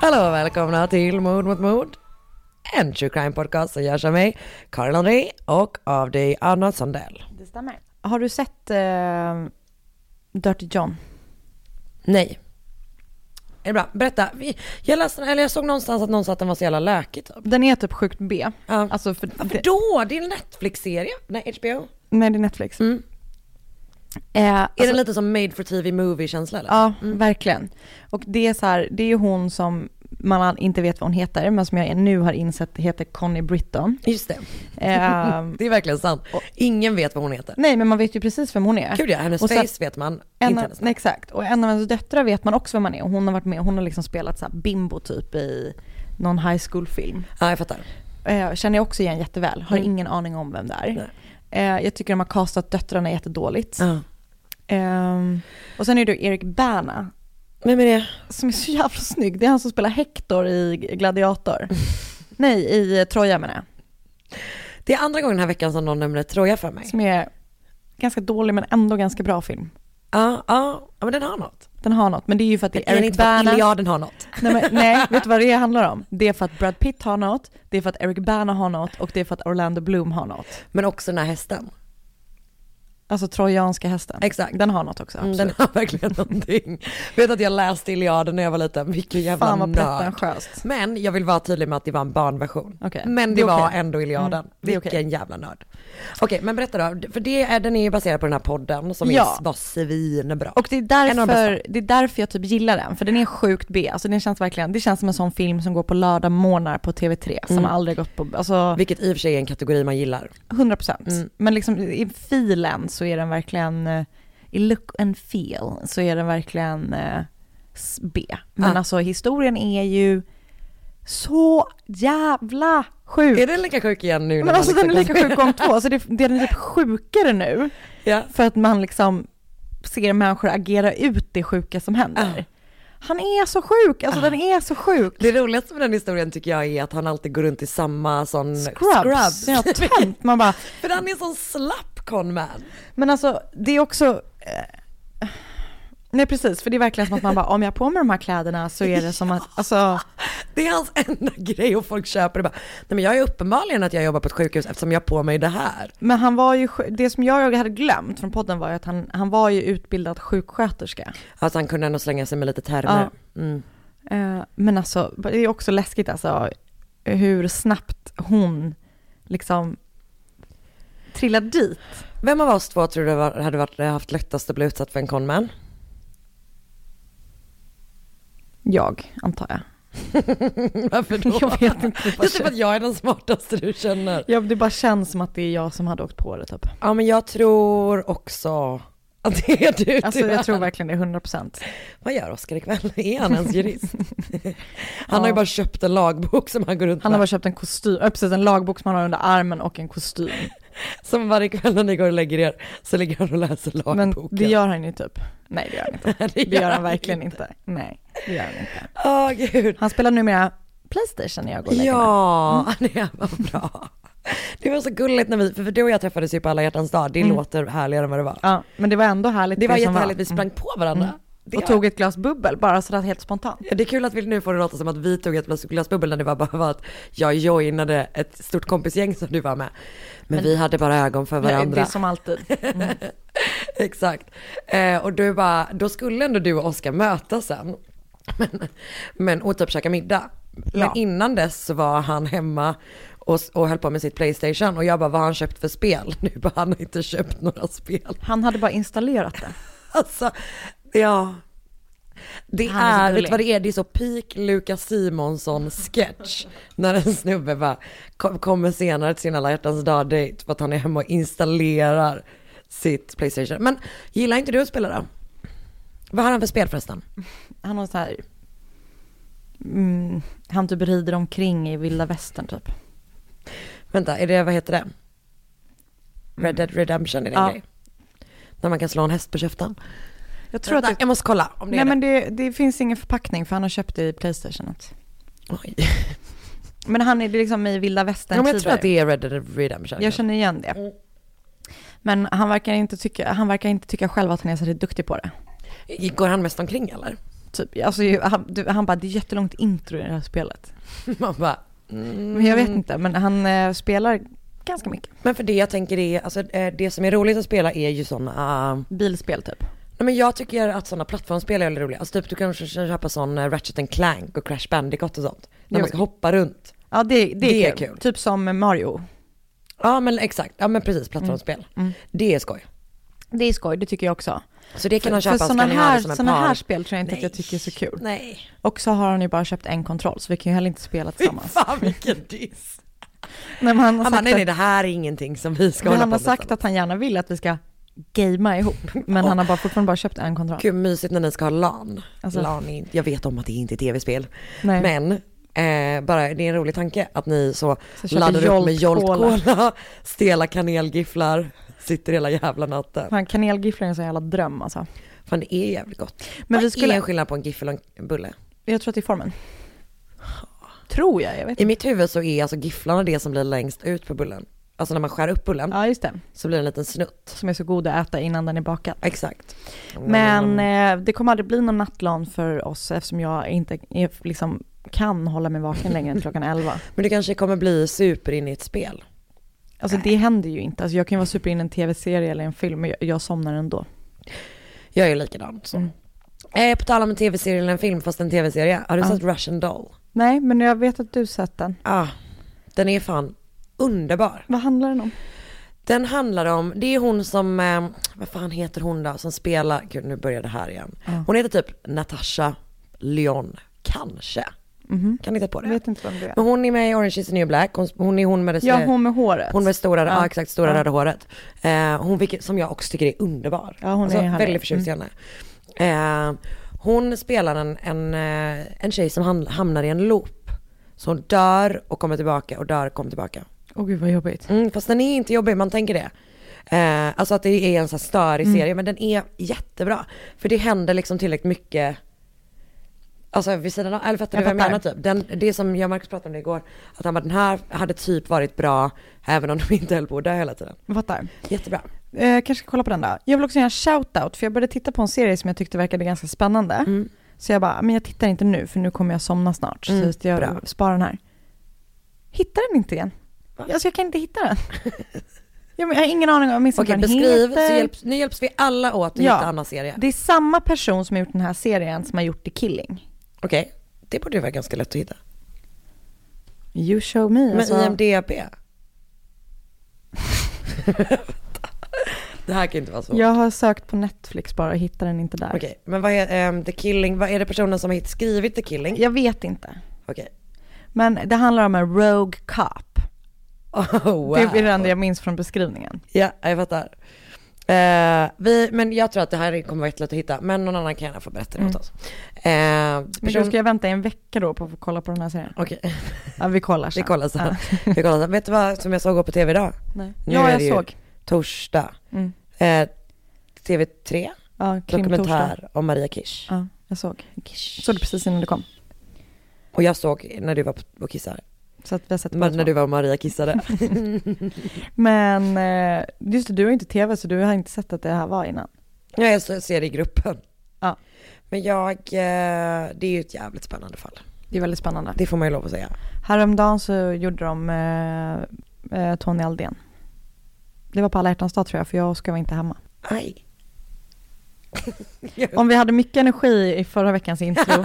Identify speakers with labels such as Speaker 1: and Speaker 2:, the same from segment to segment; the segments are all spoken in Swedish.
Speaker 1: Hallå och välkomna till Mord mot mord. En true crime podcast som görs av mig, Karin André och av dig Anna Sandell.
Speaker 2: Det stämmer. Har du sett eh, Dirty John?
Speaker 1: Nej. Är det bra? Berätta. Vi- Jag, läste, eller jag såg någonstans att någon sa att den var så jävla lökig typ.
Speaker 2: Den är typ sjukt B.
Speaker 1: Ja.
Speaker 2: Alltså för
Speaker 1: Varför
Speaker 2: det, Alltså-
Speaker 1: då? Det är en Netflix-serie? Nej, HBO?
Speaker 2: nej, det är Netflix.
Speaker 1: Mm.
Speaker 2: Eh,
Speaker 1: Är
Speaker 2: alltså,
Speaker 1: den lite Mm. som made for TV movie-känsla eller?
Speaker 2: ja, verkligen. Och det är så här, det är ju hon som man inte vet vad hon heter, men som jag nu har insett heter Connie Britton.
Speaker 1: Just det.
Speaker 2: Eh,
Speaker 1: Det är verkligen sant. Ingen vet vad hon heter.
Speaker 2: nej, men man vet ju precis vem hon är.
Speaker 1: Gud ja, hennes
Speaker 2: Och sen-
Speaker 1: face vet man.
Speaker 2: En
Speaker 1: inte
Speaker 2: av,
Speaker 1: hennes namn.
Speaker 2: nej, exakt, och en av hennes döttrar vet man också vem man är. Och hon har varit med, hon har liksom spelat så här bimbo typ i någon high school-film.
Speaker 1: Ja, jag fattar.
Speaker 2: Eh, känner jag också igen jätteväl, har
Speaker 1: Mm.
Speaker 2: ingen aning om vem det är. Eh, jag tycker de har castat döttrarna jättedåligt.
Speaker 1: Ja.
Speaker 2: Ehm, och sen är det Erik Berna
Speaker 1: Vem är det?
Speaker 2: som är så jävla snygg. Det är han som spelar Hector i Gladiator. Nej, i eh, Troja menar jag.
Speaker 1: Det är andra gången den här veckan som någon nämner Troja för mig.
Speaker 2: Som är ganska dålig men ändå ganska bra film.
Speaker 1: Ja, ja, ja men den har något.
Speaker 2: Den har något, men det är ju för att det är
Speaker 1: Erik
Speaker 2: Erik Berna.
Speaker 1: Miljarden har något.
Speaker 2: Nej, men, nej, vet du vad det handlar om? Det är för att Brad Pitt har något, det är för att Eric Berna har något och det är för att Orlando Bloom har något.
Speaker 1: Men också den här hästen.
Speaker 2: Alltså trojanska hästen.
Speaker 1: Exakt.
Speaker 2: Den har något också.
Speaker 1: Mm,
Speaker 2: Absolut.
Speaker 1: den har verkligen någonting. Vet att jag läste Iliaden när jag var liten, vilken jävla
Speaker 2: Fan vad
Speaker 1: nörd.
Speaker 2: pretentiöst.
Speaker 1: Men jag vill vara tydlig med att det var en barnversion.
Speaker 2: Okej,
Speaker 1: Men det,
Speaker 2: det är
Speaker 1: var
Speaker 2: okej.
Speaker 1: ändå Iliaden.
Speaker 2: Mm, det är okej.
Speaker 1: Vilken jävla nörd. Okej, men berätta då. För det är, den är ju baserad på den här podden som
Speaker 2: Ja.
Speaker 1: är, var svinbra.
Speaker 2: Och det är,
Speaker 1: En av de
Speaker 2: därför, det är därför jag typ gillar den, för den är sjukt B. Alltså den känns verkligen, det känns som en sån film som går på lördagmorgnar på TV3, som
Speaker 1: Mm.
Speaker 2: aldrig gått på, alltså
Speaker 1: Vilket i och för sig är en kategori man gillar.
Speaker 2: 100%. procent.
Speaker 1: Mm.
Speaker 2: Men liksom i filen så är den verkligen, eh, i look and feel så är den verkligen eh, s- B. Men
Speaker 1: Ja.
Speaker 2: alltså historien är ju så jävla sjuk.
Speaker 1: Är den lika sjuk igen nu? när
Speaker 2: Men
Speaker 1: man
Speaker 2: alltså den är
Speaker 1: liksom-
Speaker 2: lika sjuk gång två, alltså det, den är typ sjukare nu.
Speaker 1: ja.
Speaker 2: För att man liksom ser människor agera ut det sjuka som händer.
Speaker 1: Ja.
Speaker 2: Han är så sjuk, alltså den är så sjuk.
Speaker 1: Det roligaste med den historien tycker jag är att han alltid går runt i samma sån
Speaker 2: Scrubs, den har tömt. Man bara,
Speaker 1: För han är en sån slapp conman.
Speaker 2: men alltså det är också... eh, Nej precis, för det är verkligen som att man bara, om jag har på mig de här kläderna så är det som att, alltså,
Speaker 1: Det är hans enda grej och folk köper det bara. Nej men jag är uppenbarligen att jag jobbar på ett sjukhus eftersom jag har på mig det här.
Speaker 2: men han var ju, sj- det som jag hade glömt från podden var ju att han, han var ju utbildad sjuksköterska.
Speaker 1: Alltså han kunde ändå slänga sig med lite termer. Mm.
Speaker 2: Eh, Men alltså, det är också läskigt alltså hur snabbt hon liksom trillar dit.
Speaker 1: Vem av oss två tror du var- hade varit, haft lättast att bli utsatt för en conman?
Speaker 2: Jag, antar jag.
Speaker 1: Varför då?
Speaker 2: Jag vet inte. Det bara,
Speaker 1: Just det, för att jag är den smartaste du känner.
Speaker 2: ja, det bara känns som att det är jag som hade åkt på det typ.
Speaker 1: Ja men jag tror också att det är du
Speaker 2: Alltså
Speaker 1: tyvärr.
Speaker 2: jag tror verkligen det är 100 procent.
Speaker 1: Vad gör Oskar ikväll? Är han ens jurist? Han har ju
Speaker 2: Ja.
Speaker 1: bara köpt en lagbok som han går runt
Speaker 2: Han har
Speaker 1: med.
Speaker 2: bara köpt en kostym, ja, precis en lagbok som han har under armen och en kostym.
Speaker 1: Som varje kväll när ni går och lägger er så ligger han och läser
Speaker 2: Men
Speaker 1: lagboken.
Speaker 2: det gör han ju typ. Nej det gör han inte.
Speaker 1: det
Speaker 2: Det gör han verkligen inte. Nej, det gör han inte.
Speaker 1: Åh gud.
Speaker 2: Han spelar numera Playstation när jag går och lägger
Speaker 1: Ja,
Speaker 2: mig. Mm.
Speaker 1: det var bra. Det var så gulligt när vi, för du och jag träffades ju på alla hjärtans dag, det låter härligare än vad det var.
Speaker 2: Mm. Ja, men det var ändå härligt.
Speaker 1: Det var
Speaker 2: som
Speaker 1: jättehärligt, vi sprang på varandra. Det,
Speaker 2: Mm. Och tog ett glas bubbel bara sådär helt spontant.
Speaker 1: det är kul att vi nu får det låta som att vi tog ett glas- glas bubbel när det var bara var att jag joinade ett stort kompisgäng som du var med. Men, vi hade bara ögon för varandra.
Speaker 2: Det är som alltid.
Speaker 1: Exakt. Eh, och du bara, då skulle ändå du och Oskar mötas sen. Men, men, och typ käka middag. Men
Speaker 2: Ja.
Speaker 1: innan dess så var han hemma och, och höll på med sitt Playstation. Och jag bara, vad har han köpt för spel? Nu bara, han har inte köpt några spel.
Speaker 2: Han hade bara installerat det.
Speaker 1: Alltså, ja. Det
Speaker 2: Han är så
Speaker 1: är, vet
Speaker 2: gullig.
Speaker 1: du vad det är? Det är så peak Lukas Simonsson sketch. När en snubbe bara kom, kommer senare till sin alla hjärtans dag-dejt för att han är hemma och installerar sitt Playstation. Men gillar inte du att spela då? Vad har han för spel förresten?
Speaker 2: Han har så här... Mm, han typ rider omkring i vilda västern typ.
Speaker 1: Vänta, är det, vad heter det? Red Dead Redemption är det en
Speaker 2: Ja.
Speaker 1: grej? När man kan slå en häst på käften?
Speaker 2: Jag tror att
Speaker 1: Vänta,
Speaker 2: det...
Speaker 1: jag måste kolla om det
Speaker 2: Nej
Speaker 1: är
Speaker 2: men det, det finns ingen förpackning för han har köpt det i Playstation.
Speaker 1: det. Oj.
Speaker 2: Men han är liksom i vilda västern
Speaker 1: Ja, men jag tror att det är Red Dead Redemption.
Speaker 2: Jag känner igen
Speaker 1: Mm.
Speaker 2: det. Men han verkar, inte tycka, han verkar inte tycka själv att han är särskilt duktig på det.
Speaker 1: Går han mest omkring eller?
Speaker 2: Typ, alltså, ju- han, du, han bara, det är jättelångt intro i det här spelet.
Speaker 1: Man bara, mm.
Speaker 2: Men jag vet inte, men han eh, spelar ganska mycket.
Speaker 1: Men för det jag tänker är, alltså eh, det som är roligt att spela är ju sådana,
Speaker 2: Bilspel typ.
Speaker 1: nej men jag tycker att sådana plattformsspel är väldigt roliga. Alltså typ du kanske ska köpa sån eh, Ratchet and Clank och Crash Bandicoot och sånt. När
Speaker 2: Jo.
Speaker 1: man ska hoppa runt.
Speaker 2: Ja, det, det,
Speaker 1: Det
Speaker 2: är,
Speaker 1: är
Speaker 2: kul.
Speaker 1: kul.
Speaker 2: Typ som Mario.
Speaker 1: Ja men exakt, ja men precis plattformsspel.
Speaker 2: Mm.
Speaker 1: Det är skoj.
Speaker 2: Det är skoj, det tycker jag också.
Speaker 1: Så det kan han
Speaker 2: För
Speaker 1: köpa så
Speaker 2: sådana
Speaker 1: kan ni ha
Speaker 2: här,
Speaker 1: det som ett
Speaker 2: såna
Speaker 1: par.
Speaker 2: här spel tror jag inte att jag tycker är så kul.
Speaker 1: Nej.
Speaker 2: Och så har han ju bara köpt en kontroll, så vi kan ju heller inte spela
Speaker 1: Fy
Speaker 2: tillsammans.
Speaker 1: fan vilken diss.
Speaker 2: Nej, men han har
Speaker 1: Han bara,
Speaker 2: Alltså. sagt
Speaker 1: nej nej
Speaker 2: att,
Speaker 1: det här är ingenting som vi ska
Speaker 2: men
Speaker 1: hålla på
Speaker 2: han, har
Speaker 1: med.
Speaker 2: sagt att han gärna vill att vi ska gamea ihop, men han har bara fortfarande bara köpt en kontroll.
Speaker 1: Gud mysigt när ni ska ha LAN.
Speaker 2: Alltså-
Speaker 1: LAN är, inte- jag vet om att det inte är tv-spel.
Speaker 2: Nej.
Speaker 1: Men eh, bara, det är en rolig tanke att ni så,
Speaker 2: Så köper
Speaker 1: laddar upp med
Speaker 2: Jolt
Speaker 1: Jolt
Speaker 2: Cola.
Speaker 1: Cola, stela kanelgifflar, sitter hela jävla natten.
Speaker 2: Fan, kanelgifflar är en sån jävla dröm alltså.
Speaker 1: Fan det är jävligt gott.
Speaker 2: Men
Speaker 1: Men
Speaker 2: vi
Speaker 1: Vad
Speaker 2: skulle-
Speaker 1: är en skillnad på en giffel och en bulle?
Speaker 2: Jag tror att det är formen. Tror jag, jag vet
Speaker 1: I
Speaker 2: inte.
Speaker 1: mitt huvud så är alltså gifflarna det som blir längst ut på bullen. Alltså när man skär upp bullen
Speaker 2: Ja, just det.
Speaker 1: så blir det en liten snutt.
Speaker 2: Som är så god att äta innan den är bakad.
Speaker 1: Exakt.
Speaker 2: Men eh, det kommer aldrig bli någon nattlan för oss eftersom jag inte är, liksom, kan hålla mig vaken längre än klockan 11.
Speaker 1: Men det kanske kommer bli super in i ett spel.
Speaker 2: Alltså det händer ju inte. Alltså, jag kan ju vara super in i en tv-serie eller en film men jag, jag somnar ändå.
Speaker 1: Jag är likadan så.
Speaker 2: Mm.
Speaker 1: Eh, på tal om en tv-serie eller en film, fast en tv-serie. Har du
Speaker 2: Ja.
Speaker 1: sett Russian Doll?
Speaker 2: Nej, men jag vet att du sett den.
Speaker 1: Ah, den är fan underbar.
Speaker 2: Vad handlar
Speaker 1: Eh,
Speaker 2: den om?
Speaker 1: Den handlar om, det är hon som, eh, vad fan heter hon då, som spelar, gud nu börjar det här igen. Hon heter typ Natasha Lyon, kanske. Kan hitta på det.
Speaker 2: Mhm. Jag vet inte vem det är.
Speaker 1: Men hon är med i Orange is the new black, hon, hon är hon med det
Speaker 2: Ja, hon med håret.
Speaker 1: Hon med stora, ja.
Speaker 2: Ja.
Speaker 1: exakt, stora
Speaker 2: Ja.
Speaker 1: röda håret. Eh, hon vilket, som jag också tycker är underbar.
Speaker 2: Ja, hon är
Speaker 1: alltså,
Speaker 2: härlig. Mm.
Speaker 1: väldigt förtjust i henne. Eh, hon spelar en, en, eh, en tjej som han- hamnar i en loop. Så hon dör och kommer tillbaka och dör och kommer tillbaka.
Speaker 2: Åh gud vad jobbigt.
Speaker 1: Mm, fast den är inte jobbig, man tänker det. Eh, alltså att det är en så här störig
Speaker 2: Mm.
Speaker 1: serie, men den är jättebra. För det händer liksom tillräckligt mycket, alltså vid sidan av, eller fattar du
Speaker 2: Jag
Speaker 1: vad jag menar
Speaker 2: fattar.
Speaker 1: typ? Den, det som jag och Marcus pratade om det igår, att han bara den här hade typ varit bra även om de inte höll på att dö hela tiden.
Speaker 2: Jag fattar.
Speaker 1: Jättebra.
Speaker 2: Eh, kanske ska kolla på den då. Jag vill också göra en shout-out för jag började titta på en serie som jag tyckte verkade ganska spännande. Så jag bara, men jag tittar inte nu för nu kommer jag somna snart.
Speaker 1: Mm,
Speaker 2: så jag
Speaker 1: bra.
Speaker 2: sparar den här. Hittar den inte igen. Alltså jag kan inte hitta den. jag, men, jag har ingen aning om jag minns inte
Speaker 1: Okej
Speaker 2: vad den
Speaker 1: beskriv, så
Speaker 2: heter.
Speaker 1: hjälps, nu hjälps vi alla åt att
Speaker 2: Ja.
Speaker 1: hitta Annas serie.
Speaker 2: Det är samma person som har gjort den här serien som har gjort The Killing.
Speaker 1: Okej, det borde ju vara ganska lätt att hitta.
Speaker 2: You show me.
Speaker 1: Men
Speaker 2: alltså.
Speaker 1: IMDB? det här kan inte vara svårt.
Speaker 2: Jag har sökt på Netflix bara och hittar den inte där.
Speaker 1: Okej, men vad är ehm, The Killing? Vad är det personen som har hit- skrivit The Killing?
Speaker 2: Jag vet inte.
Speaker 1: Okej.
Speaker 2: Men det handlar om en rogue cop.
Speaker 1: Oh, wow.
Speaker 2: Det är det enda jag minns från beskrivningen.
Speaker 1: Ja, jag fattar. Eh, vi, men jag tror att det här kommer vara jättelätt att hitta, men någon annan kan gärna få berätta det
Speaker 2: Mm.
Speaker 1: åt oss. Eh,
Speaker 2: Men då
Speaker 1: person...
Speaker 2: ska jag vänta i en vecka då på att få kolla på den här serien?
Speaker 1: Okej,
Speaker 2: Ja, vi kollar
Speaker 1: vi
Speaker 2: sen.
Speaker 1: kollar sen. vi kollar sen. Vet du vad som jag såg på tv idag?
Speaker 2: Nej.
Speaker 1: Nu
Speaker 2: Ja,
Speaker 1: är
Speaker 2: jag
Speaker 1: det ju
Speaker 2: såg.
Speaker 1: Torsdag.
Speaker 2: Mm.
Speaker 1: Eh, TV3,
Speaker 2: Ja,
Speaker 1: dokumentär
Speaker 2: krimtorsdag.
Speaker 1: om Maria Kirsch.
Speaker 2: Ja, jag såg. Såg det precis innan du kom.
Speaker 1: Och jag såg när du var på- och kissade.
Speaker 2: Så att vi har sett båda
Speaker 1: Men när
Speaker 2: två.
Speaker 1: du var och Maria kissade.
Speaker 2: Men eh, just det, du har inte tv så du har inte sett att det här var innan.
Speaker 1: Ja, jag så- ser det i gruppen.
Speaker 2: Ja.
Speaker 1: Men jag, eh, det är ju ett jävligt spännande fall.
Speaker 2: Det är väldigt spännande.
Speaker 1: Det får man ju lov att säga.
Speaker 2: Häromdagen så gjorde de eh, eh, Tony Aldén. Det var på alla hjärtans dag tror jag, för jag och Oskar var inte hemma.
Speaker 1: Aj.
Speaker 2: Om vi hade mycket energi i förra veckans intro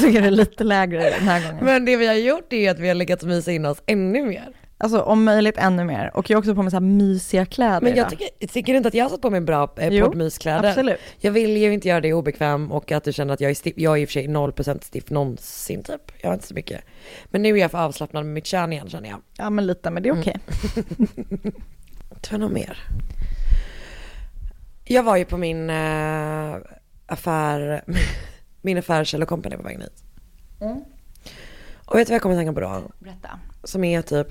Speaker 2: så är det lite lägre den här gången.
Speaker 1: Men det vi har gjort är ju att vi har lyckats mysa in oss ännu mer.
Speaker 2: Alltså om möjligt ännu mer. Och jag har också på mig så här mysiga kläder
Speaker 1: Men jag
Speaker 2: idag.
Speaker 1: tycker, tycker du inte att jag har satt på mig bra eh,
Speaker 2: Jo,
Speaker 1: poddmyskläder?
Speaker 2: absolut.
Speaker 1: Jag vill ju inte göra dig obekväm och att du känner att jag är stiff. Jag är i och för sig 0% stiff någonsin typ. Jag har inte så mycket. Men nu är jag för avslappnad med mitt kärn igen känner jag.
Speaker 2: Ja men lite, men det är okej.
Speaker 1: Det var något mer. Jag var ju på min eh, affär, min affär Kjell Company på vägen hit.
Speaker 2: Mm.
Speaker 1: Och vet du vad jag kommer att tänka på då?
Speaker 2: Berätta.
Speaker 1: Som är typ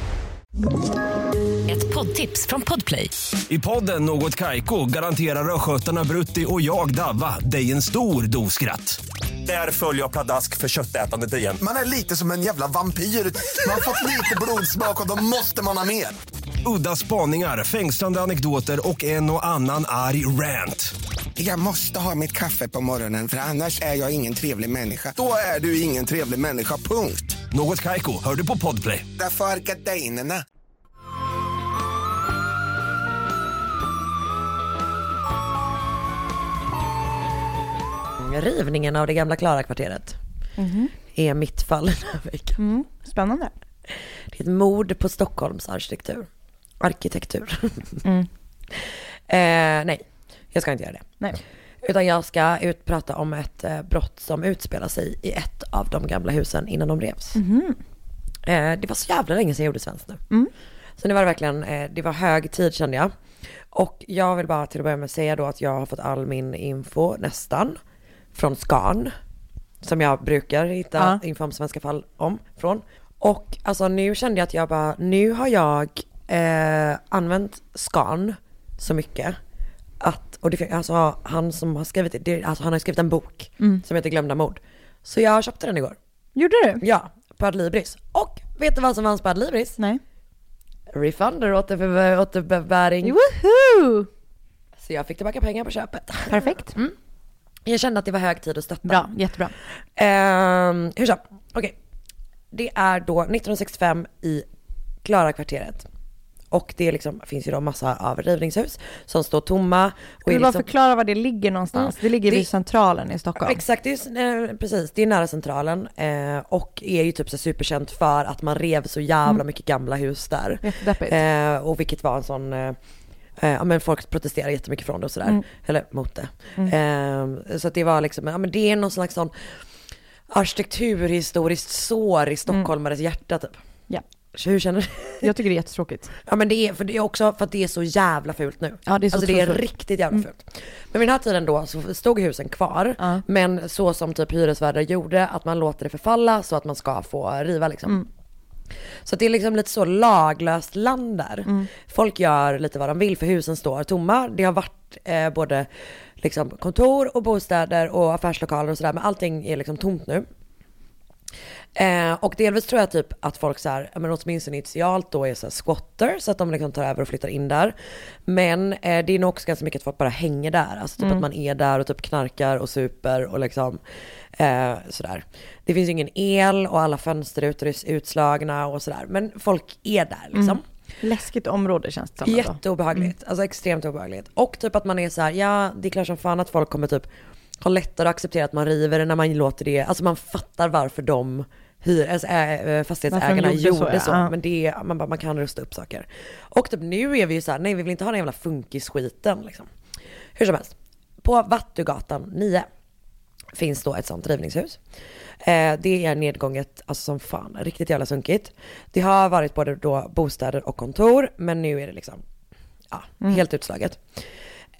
Speaker 3: Ett poddtips från Podplay.
Speaker 4: I podden Något Kaiko garanterar östgötarna Brutti och jag, Davva, dig en stor dos skratt. Där följer jag pladask för köttätandet igen.
Speaker 5: Man är lite som en jävla vampyr. Man har fått lite blodsmak och då måste man ha mer.
Speaker 4: Udda spaningar, fängslande anekdoter och en och annan arg rant.
Speaker 5: Jag måste ha mitt kaffe på morgonen för annars är jag ingen trevlig människa. Då är du ingen trevlig människa, punkt.
Speaker 4: Något Kaiko, hör du på Podplay.
Speaker 5: Därför är gardinerna.
Speaker 1: Rivningen av det gamla Klara-kvarteret
Speaker 2: Mm-hmm.
Speaker 1: är mitt fall den här veckan.
Speaker 2: Mm. Spännande.
Speaker 1: Det är ett mord på Stockholms arkitektur. Arkitektur. eh, nej, jag ska inte göra det.
Speaker 2: Nej.
Speaker 1: Utan jag ska utprata om ett eh, brott som utspelar sig i ett av de gamla husen innan de revs. Eh, det var så jävla länge sedan jag gjorde svenskt nu. Så nu var det verkligen, eh, det var hög tid kände jag. Och jag vill bara till att börja med säga då att jag har fått all min info, nästan, från Skan. Som jag brukar hitta
Speaker 2: Ja.
Speaker 1: info om svenska fall om, från. Och alltså nu kände jag att jag bara, nu har jag eh, använt Skan så mycket. Att, och det, fin- alltså han som har skrivit det, det, alltså han har skrivit en bok som heter Glömda mord. Så jag köpte den igår.
Speaker 2: Gjorde du?
Speaker 1: Ja, på Adlibris. Och vet du vad som vanns på Adlibris?
Speaker 2: Nej.
Speaker 1: Refunder, återbe- återbäring.
Speaker 2: Woho!
Speaker 1: Så jag fick tillbaka pengar på köpet.
Speaker 2: Perfekt.
Speaker 1: Jag kände att det var hög tid att stötta.
Speaker 2: Bra, jättebra.
Speaker 1: Ehm, hur så? Okej. Det är då 1965 i Klarakvarteret. Och det är liksom, finns ju då massa av rivningshus som står tomma. Och
Speaker 2: Ska vi
Speaker 1: är
Speaker 2: bara
Speaker 1: liksom,
Speaker 2: förklara var det ligger någonstans?
Speaker 1: Mm.
Speaker 2: Det ligger
Speaker 1: Det-
Speaker 2: vid Centralen i Stockholm.
Speaker 1: Exakt, det är, eh, precis. Det är nära Centralen eh, och är ju typ så superkänt för att man rev så jävla mycket gamla hus där.
Speaker 2: Mm. Jättedeppigt.
Speaker 1: Eh, och vilket var en sån, eh, eh, ja men folk protesterade jättemycket från det och sådär.
Speaker 2: Mm.
Speaker 1: Eller mot det. Eh, så att det var liksom, ja men det är någon slags sån arkitekturhistoriskt sår
Speaker 2: Mm.
Speaker 1: i stockholmares hjärta typ.
Speaker 2: Ja.
Speaker 1: Så Hur känner du?
Speaker 2: Jag tycker det är jättetråkigt.
Speaker 1: Ja men det är, för det är också för att det är så jävla fult nu.
Speaker 2: Ja, det är så
Speaker 1: alltså det är
Speaker 2: otroligt fult.
Speaker 1: riktigt jävla fult. Men vid den här tiden då så stod husen kvar.
Speaker 2: Ja.
Speaker 1: Men så som typ hyresvärdar gjorde, att man låter det förfalla så att man ska få riva liksom.
Speaker 2: Mm.
Speaker 1: Så att det är liksom lite så laglöst land där.
Speaker 2: Mm.
Speaker 1: Folk gör lite vad de vill för husen står tomma. Det har varit eh, både liksom kontor och bostäder och affärslokaler och sådär. Men allting är liksom tomt nu. Eh, och delvis tror jag typ att folk så här, ja, men åtminstone initialt då är så här squatter så att de liksom tar över och flyttar in där. Men eh, det är nog också ganska mycket att folk bara hänger där. Alltså typ att man är där och typ knarkar och super och liksom eh, sådär. Det finns ju ingen el och alla fönsterrutor är utslagna och sådär. Men folk är där liksom.
Speaker 2: Läskigt område känns det som. ändå.
Speaker 1: Jätteobehagligt. Alltså extremt obehagligt. Och typ att man är så här, ja det är klart som fan att folk kommer typ ha lättare att acceptera att man river det när man låter det, alltså man fattar varför de hyr, alltså, äh, äh, fastighetsägarna
Speaker 2: Varför de
Speaker 1: gjorde,
Speaker 2: gjorde så, ja.
Speaker 1: så.
Speaker 2: Ja.
Speaker 1: Men det, är- man, bara, man kan rusta upp saker. Och typ nu är vi ju så här, nej vi vill inte ha den jävla funkisskiten liksom. Hur som helst. På Vattugatan 9 finns då ett sånt rivningshus. Eh, det är nedgånget, alltså som fan, riktigt jävla sunkigt. Det har varit både då bostäder och kontor, men nu är det liksom, ja,
Speaker 2: Mm.
Speaker 1: helt utslaget.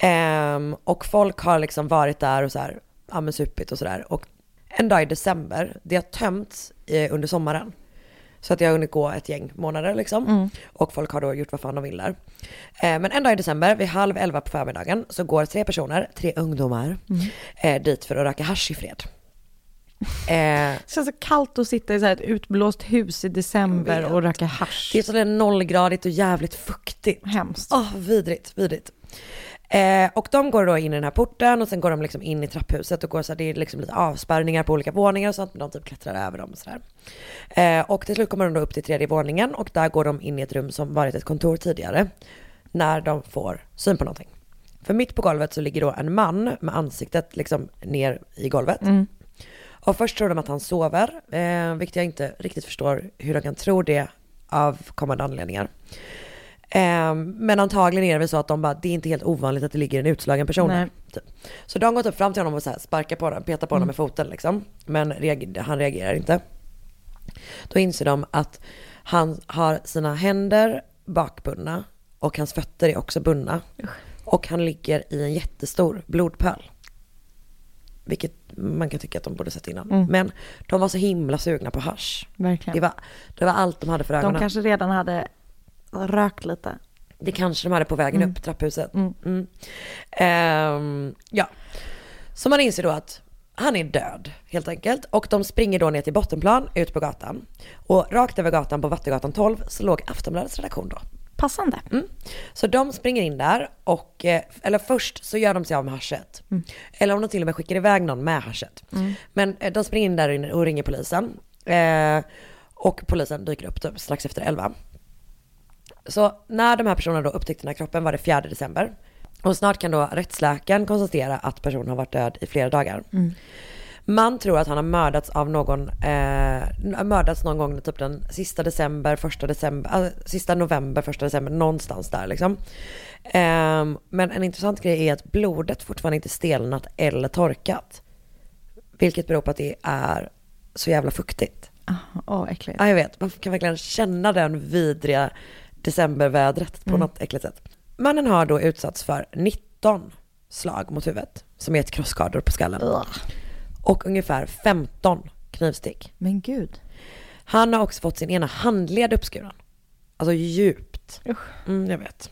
Speaker 1: Ehm, och folk har liksom varit där och så här, ja men supit och sådär. Och en dag i december, det har tömts eh, under sommaren. Så att jag har hunnit gå ett gäng månader liksom. Och folk har då gjort vad fan de vill där. Eh, men en dag i december vid halv elva på förmiddagen så går tre personer, tre ungdomar, eh, dit för att röka hasch i fred. Eh,
Speaker 2: Det känns så kallt att sitta i så här ett utblåst hus i
Speaker 1: Jag
Speaker 2: december
Speaker 1: vet.
Speaker 2: och röka hasch.
Speaker 1: det är sådär nollgradigt och jävligt fuktigt.
Speaker 2: Hemskt.
Speaker 1: Åh, vidrigt, vidrigt. Eh, och de går då in i den här porten och sen går de liksom in i trapphuset och går så här, det är liksom lite avspärrningar på olika våningar och sånt men de typ klättrar över dem och sådär. Eh, och till slut kommer de då upp till tredje våningen och där går de in i ett rum som varit ett kontor tidigare. När de får syn på någonting. För mitt på golvet så ligger då en man med ansiktet liksom ner i golvet. Och först tror de att han sover, eh, vilket jag inte riktigt förstår hur de kan tro det av kommande anledningar. Eh, men antagligen är det väl så att de bara, det är inte helt ovanligt att det ligger en utslagen person där.
Speaker 2: Nej. Mm.
Speaker 1: Typ. Så de går typ fram till honom och så här sparkar på honom, petar på honom med foten liksom. Men reager- han reagerar inte. Då inser de att han har sina händer bakbundna och hans fötter är också bundna. Och han ligger i en jättestor blodpöl. Vilket man kan tycka att de borde sett innan. Men de var så himla sugna på hasch.
Speaker 2: Mm. Verkligen.
Speaker 1: Det var, det var allt de hade för ögonen.
Speaker 2: De kanske redan hade rökt lite.
Speaker 1: Det kanske de hade på vägen upp i trapphuset. Mm. Ehm, ja. Så man inser då att han är död helt enkelt. Och de springer då ner till bottenplan ut på gatan. Och rakt över gatan på Vattengatan 12 så låg Aftonbladets redaktion då.
Speaker 2: Passande.
Speaker 1: Mm. Så de springer in där och, eh, eller först så gör de sig av med haschet. Eller om de till och med skickar iväg någon med haschet. Men eh, de springer in där inne och ringer polisen. Eh, och polisen dyker upp typ strax efter elva. Så när de här personerna då upptäckte den här kroppen var det 4 december. Och snart kan då rättsläkaren konstatera att personen har varit död i flera dagar. Man tror att han har mördats av någon, eh, mördats någon gång typ den sista december, första december, äh, sista november, första december, någonstans där liksom. Ehm, men en intressant grej är att blodet fortfarande inte stelnat eller torkat. Vilket beror på att det är så jävla fuktigt.
Speaker 2: Ah, Åh, äckligt.
Speaker 1: Ja,
Speaker 2: Mm.
Speaker 1: jag vet. Man kan verkligen känna den vidriga decembervädret på något äckligt sätt. Mannen har då utsatts för 19 slag mot huvudet, som är ett krossskador på skallen. Och ungefär 15 knivstick.
Speaker 2: Men gud.
Speaker 1: Han har också fått sin ena handled uppskuren. Alltså djupt. Mm, jag vet.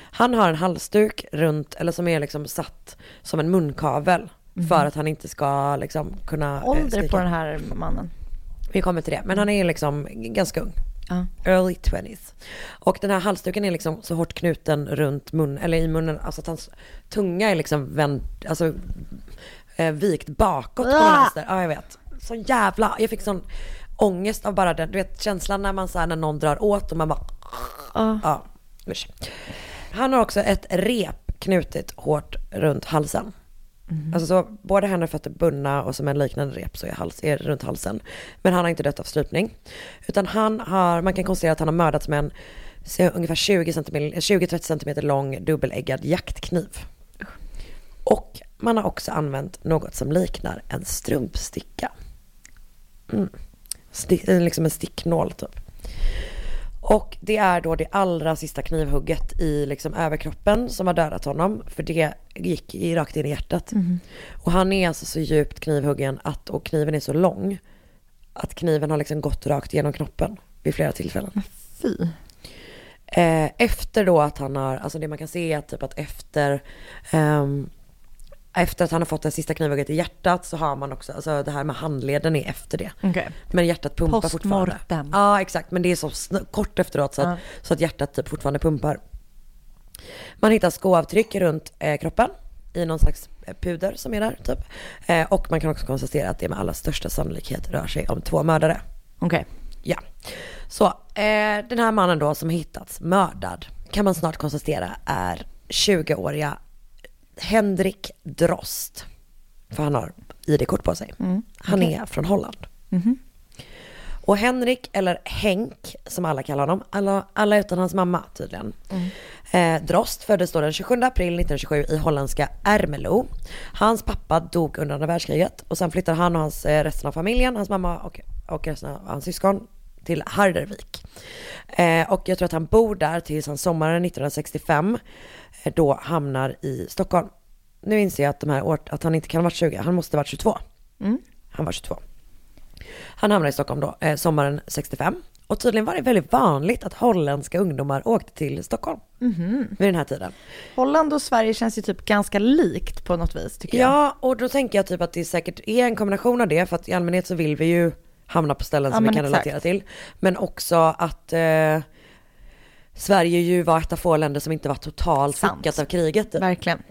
Speaker 1: Han har en halsduk runt, eller som är liksom satt som en munkavel. För att han inte ska liksom kunna eh,
Speaker 2: Mm. Ålder på
Speaker 1: skrika.
Speaker 2: den här mannen.
Speaker 1: Vi kommer till det. Men han är liksom ganska ung.
Speaker 2: Ja.
Speaker 1: Early 20s. Och den här halsduken är liksom så hårt knuten runt munnen, eller i munnen, alltså att hans tunga är liksom vänd, alltså eh, vikt bakåt på
Speaker 2: Ah!
Speaker 1: vänster. Ja, jag vet. Så jävla, jag fick sån ångest av bara den, du vet känslan när man så här, när någon drar åt och man bara, ja, usch. Han har också ett rep knutet hårt runt halsen. Alltså så, båda händer och fötter bundna och som en liknande rep så är, hals, är det runt halsen. Men han har inte dött av strypning. Utan han har, man kan konstatera att han har mördats med en se, ungefär 20 centimeter- 20-30 cm lång dubbeläggad jaktkniv. Och man har också använt något som liknar en strumpsticka. Mm. Stick, eh, liksom en sticknål typ. Och det är då det allra sista knivhugget i liksom överkroppen som har dödat honom. För det gick i, rakt in i hjärtat. Och han är alltså så djupt knivhuggen att, och kniven är så lång att kniven har liksom gått rakt genom knoppen vid flera tillfällen.
Speaker 2: Fy.
Speaker 1: Eh, efter då att han har, alltså det man kan se är att typ att efter, ehm, efter att han har fått det sista knivhugget i hjärtat så har man också, alltså det här med handleden är efter det.
Speaker 2: Okej.
Speaker 1: Men hjärtat pumpar fortfarande.
Speaker 2: Postmortem.
Speaker 1: Ja exakt, men det är så sn- kort efteråt så att, så att hjärtat typ fortfarande pumpar. Man hittar skoavtryck runt eh, kroppen i någon slags eh, puder som är där typ. Eh, och man kan också konstatera att det med allra största sannolikhet rör sig om två mördare.
Speaker 2: Okej.
Speaker 1: Ja. Så eh, den här mannen då som hittats mördad kan man snart konstatera är 20-åriga Henrik Drost. För han har ID-kort på sig. Han är från Holland. Och Henrik, eller Henk som alla kallar honom, alla, alla utan hans mamma tydligen. Eh, Drost föddes då den 27 april 1927 i holländska Ermelo. Hans pappa dog under andra världskriget och sen flyttade han och hans, eh, resten av familjen, hans mamma och, och resten av hans syskon till Hardervik. Eh, och jag tror att han bor där tills han sommaren 1965 eh, då hamnar i Stockholm. Nu inser jag att, de här år, att han inte kan ha varit 20, han måste ha varit 22. Han var 22. Han hamnade i Stockholm då, eh, sommaren 65. Och tydligen var det väldigt vanligt att holländska ungdomar åkte till Stockholm
Speaker 2: Mhm.
Speaker 1: vid den här tiden.
Speaker 2: Holland och Sverige känns ju typ ganska likt på något vis tycker jag.
Speaker 1: Ja, och då tänker jag typ att det säkert är en kombination av det, för att i allmänhet så vill vi ju hamna på ställen
Speaker 2: Ja,
Speaker 1: som vi
Speaker 2: men
Speaker 1: kan
Speaker 2: exakt.
Speaker 1: relatera till. Men också att eh, Sverige ju var ett av få länder som inte var totalt
Speaker 2: Sant.
Speaker 1: fuckat av kriget. typ.
Speaker 2: Verkligen.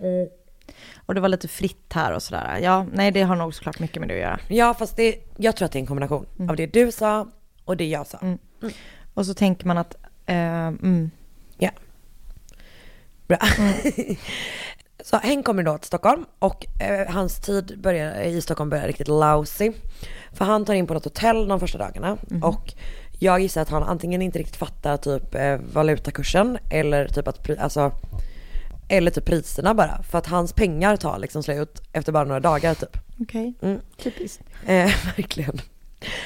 Speaker 2: Och det var lite fritt här och sådär. Ja, nej det har nog såklart mycket med det att göra.
Speaker 1: Ja, fast det, jag tror att det är en kombination
Speaker 2: Mm.
Speaker 1: av det du sa och det jag sa.
Speaker 2: Och så tänker man att, eh, mm,
Speaker 1: Ja. Bra. så Henk kommer då till Stockholm och eh, hans tid börjar, eh, i Stockholm börjar riktigt lousy. För han tar in på något hotell de första dagarna och jag gissar att han antingen inte riktigt fattar typ eh, valutakursen eller typ att pri- alltså, eller typ priserna bara. För att hans pengar tar liksom slut efter bara några dagar typ.
Speaker 2: okej,
Speaker 1: Mm.
Speaker 2: typiskt.
Speaker 1: Eh, verkligen.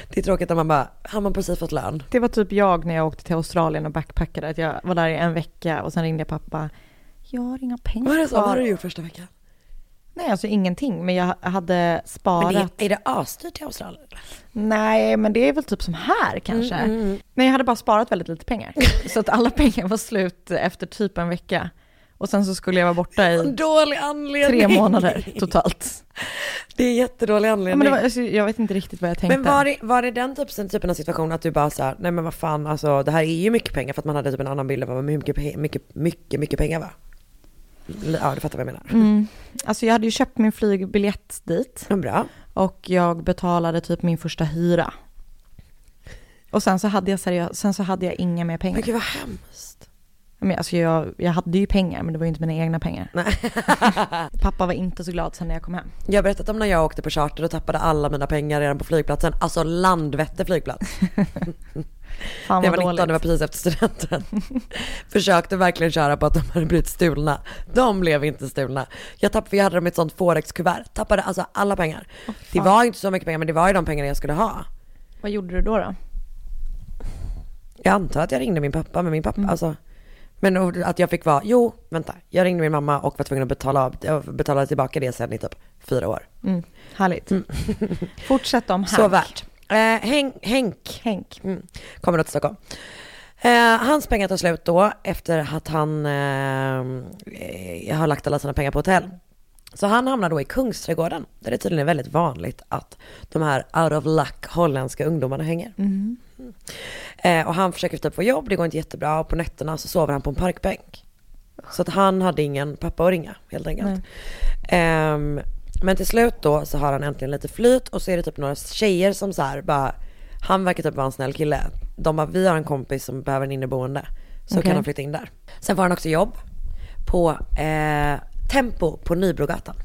Speaker 1: Det är tråkigt när man bara, har man precis fått lön?
Speaker 2: Det var typ jag när jag åkte till Australien och backpackade, att jag var där i en vecka och sen ringde jag pappa. Jag har inga pengar
Speaker 1: Vad är det så? Vad har
Speaker 2: kvar."
Speaker 1: du gjort första veckan?
Speaker 2: Nej, alltså ingenting, men jag hade
Speaker 1: Men
Speaker 2: sparat.
Speaker 1: det, är det asdyrt i Australien?
Speaker 2: Nej, men det är väl typ som här kanske. Nej, jag hade bara sparat väldigt lite pengar. Mm, så att alla pengar var slut efter typ en vecka. Och sen så skulle jag vara borta i
Speaker 1: Dålig anledning.
Speaker 2: tre månader totalt.
Speaker 1: Det är jättedålig
Speaker 2: Ja,
Speaker 1: anledning.
Speaker 2: men det var,
Speaker 1: men
Speaker 2: alltså, jag vet inte riktigt vad jag tänkte.
Speaker 1: var, det, var det den typen, typen av situation att du bara såhär, nej men vad fan alltså det här är ju mycket pengar för att man hade typ en annan bild av hur mycket, pe- mycket, mycket, mycket pengar var. Ja du fattar vad jag menar.
Speaker 2: Alltså jag hade ju köpt min flygbiljett dit
Speaker 1: Men Bra.
Speaker 2: och jag betalade typ min första hyra. Och sen så hade jag, seriöst, sen så hade jag inga mer pengar.
Speaker 1: Men gud vad hemskt.
Speaker 2: Men alltså jag, jag hade ju pengar men det var ju inte mina egna pengar.
Speaker 1: Nej.
Speaker 2: Pappa var inte så glad sen när jag kom hem.
Speaker 1: Jag har berättat om när jag åkte på charter och tappade alla mina pengar redan på flygplatsen. Alltså Landvetter flygplats.
Speaker 2: Fan
Speaker 1: När jag
Speaker 2: vad
Speaker 1: var 19,
Speaker 2: dåligt.
Speaker 1: det var precis efter studenten. Försökte verkligen köra på att de hade blivit stulna. De blev inte stulna. Jag tappade, för jag hade dem i ett sånt forexkuvert. Tappade alltså alla pengar. det var inte så mycket pengar men det var ju de pengarna jag skulle ha.
Speaker 2: Vad gjorde du då? då?
Speaker 1: Jag antar att jag ringde min pappa men min pappa, alltså Men och- att jag fick vara, jo, vänta, jag ringde min mamma och var tvungen att betala, av, jag betalade tillbaka det sen i typ fyra år.
Speaker 2: Mm, härligt. Fortsätt om Hank.
Speaker 1: Så värt. Eh, Henk, Henk
Speaker 2: Henk.
Speaker 1: mm, kommer då till Stockholm. Eh, hans pengar tar slut då efter att han eh, har lagt alla sina pengar på hotell. Så han hamnar då i Kungsträdgården, där det tydligen är väldigt vanligt att de här out of luck holländska ungdomarna hänger. Mm. Eh, och han försöker typ få jobb, det går inte jättebra. Och på nätterna så sover han på en parkbänk. Så att han hade ingen pappa att ringa helt enkelt. Ehm, men till slut då så har han äntligen lite flyt och så är det typ några tjejer som så här bara, han verkar typ vara en snäll kille. De bara, vi har en kompis som behöver en inneboende. Så
Speaker 2: Okej.
Speaker 1: kan han flytta in där. Sen får han också jobb på eh, Tempo på Nybrogatan.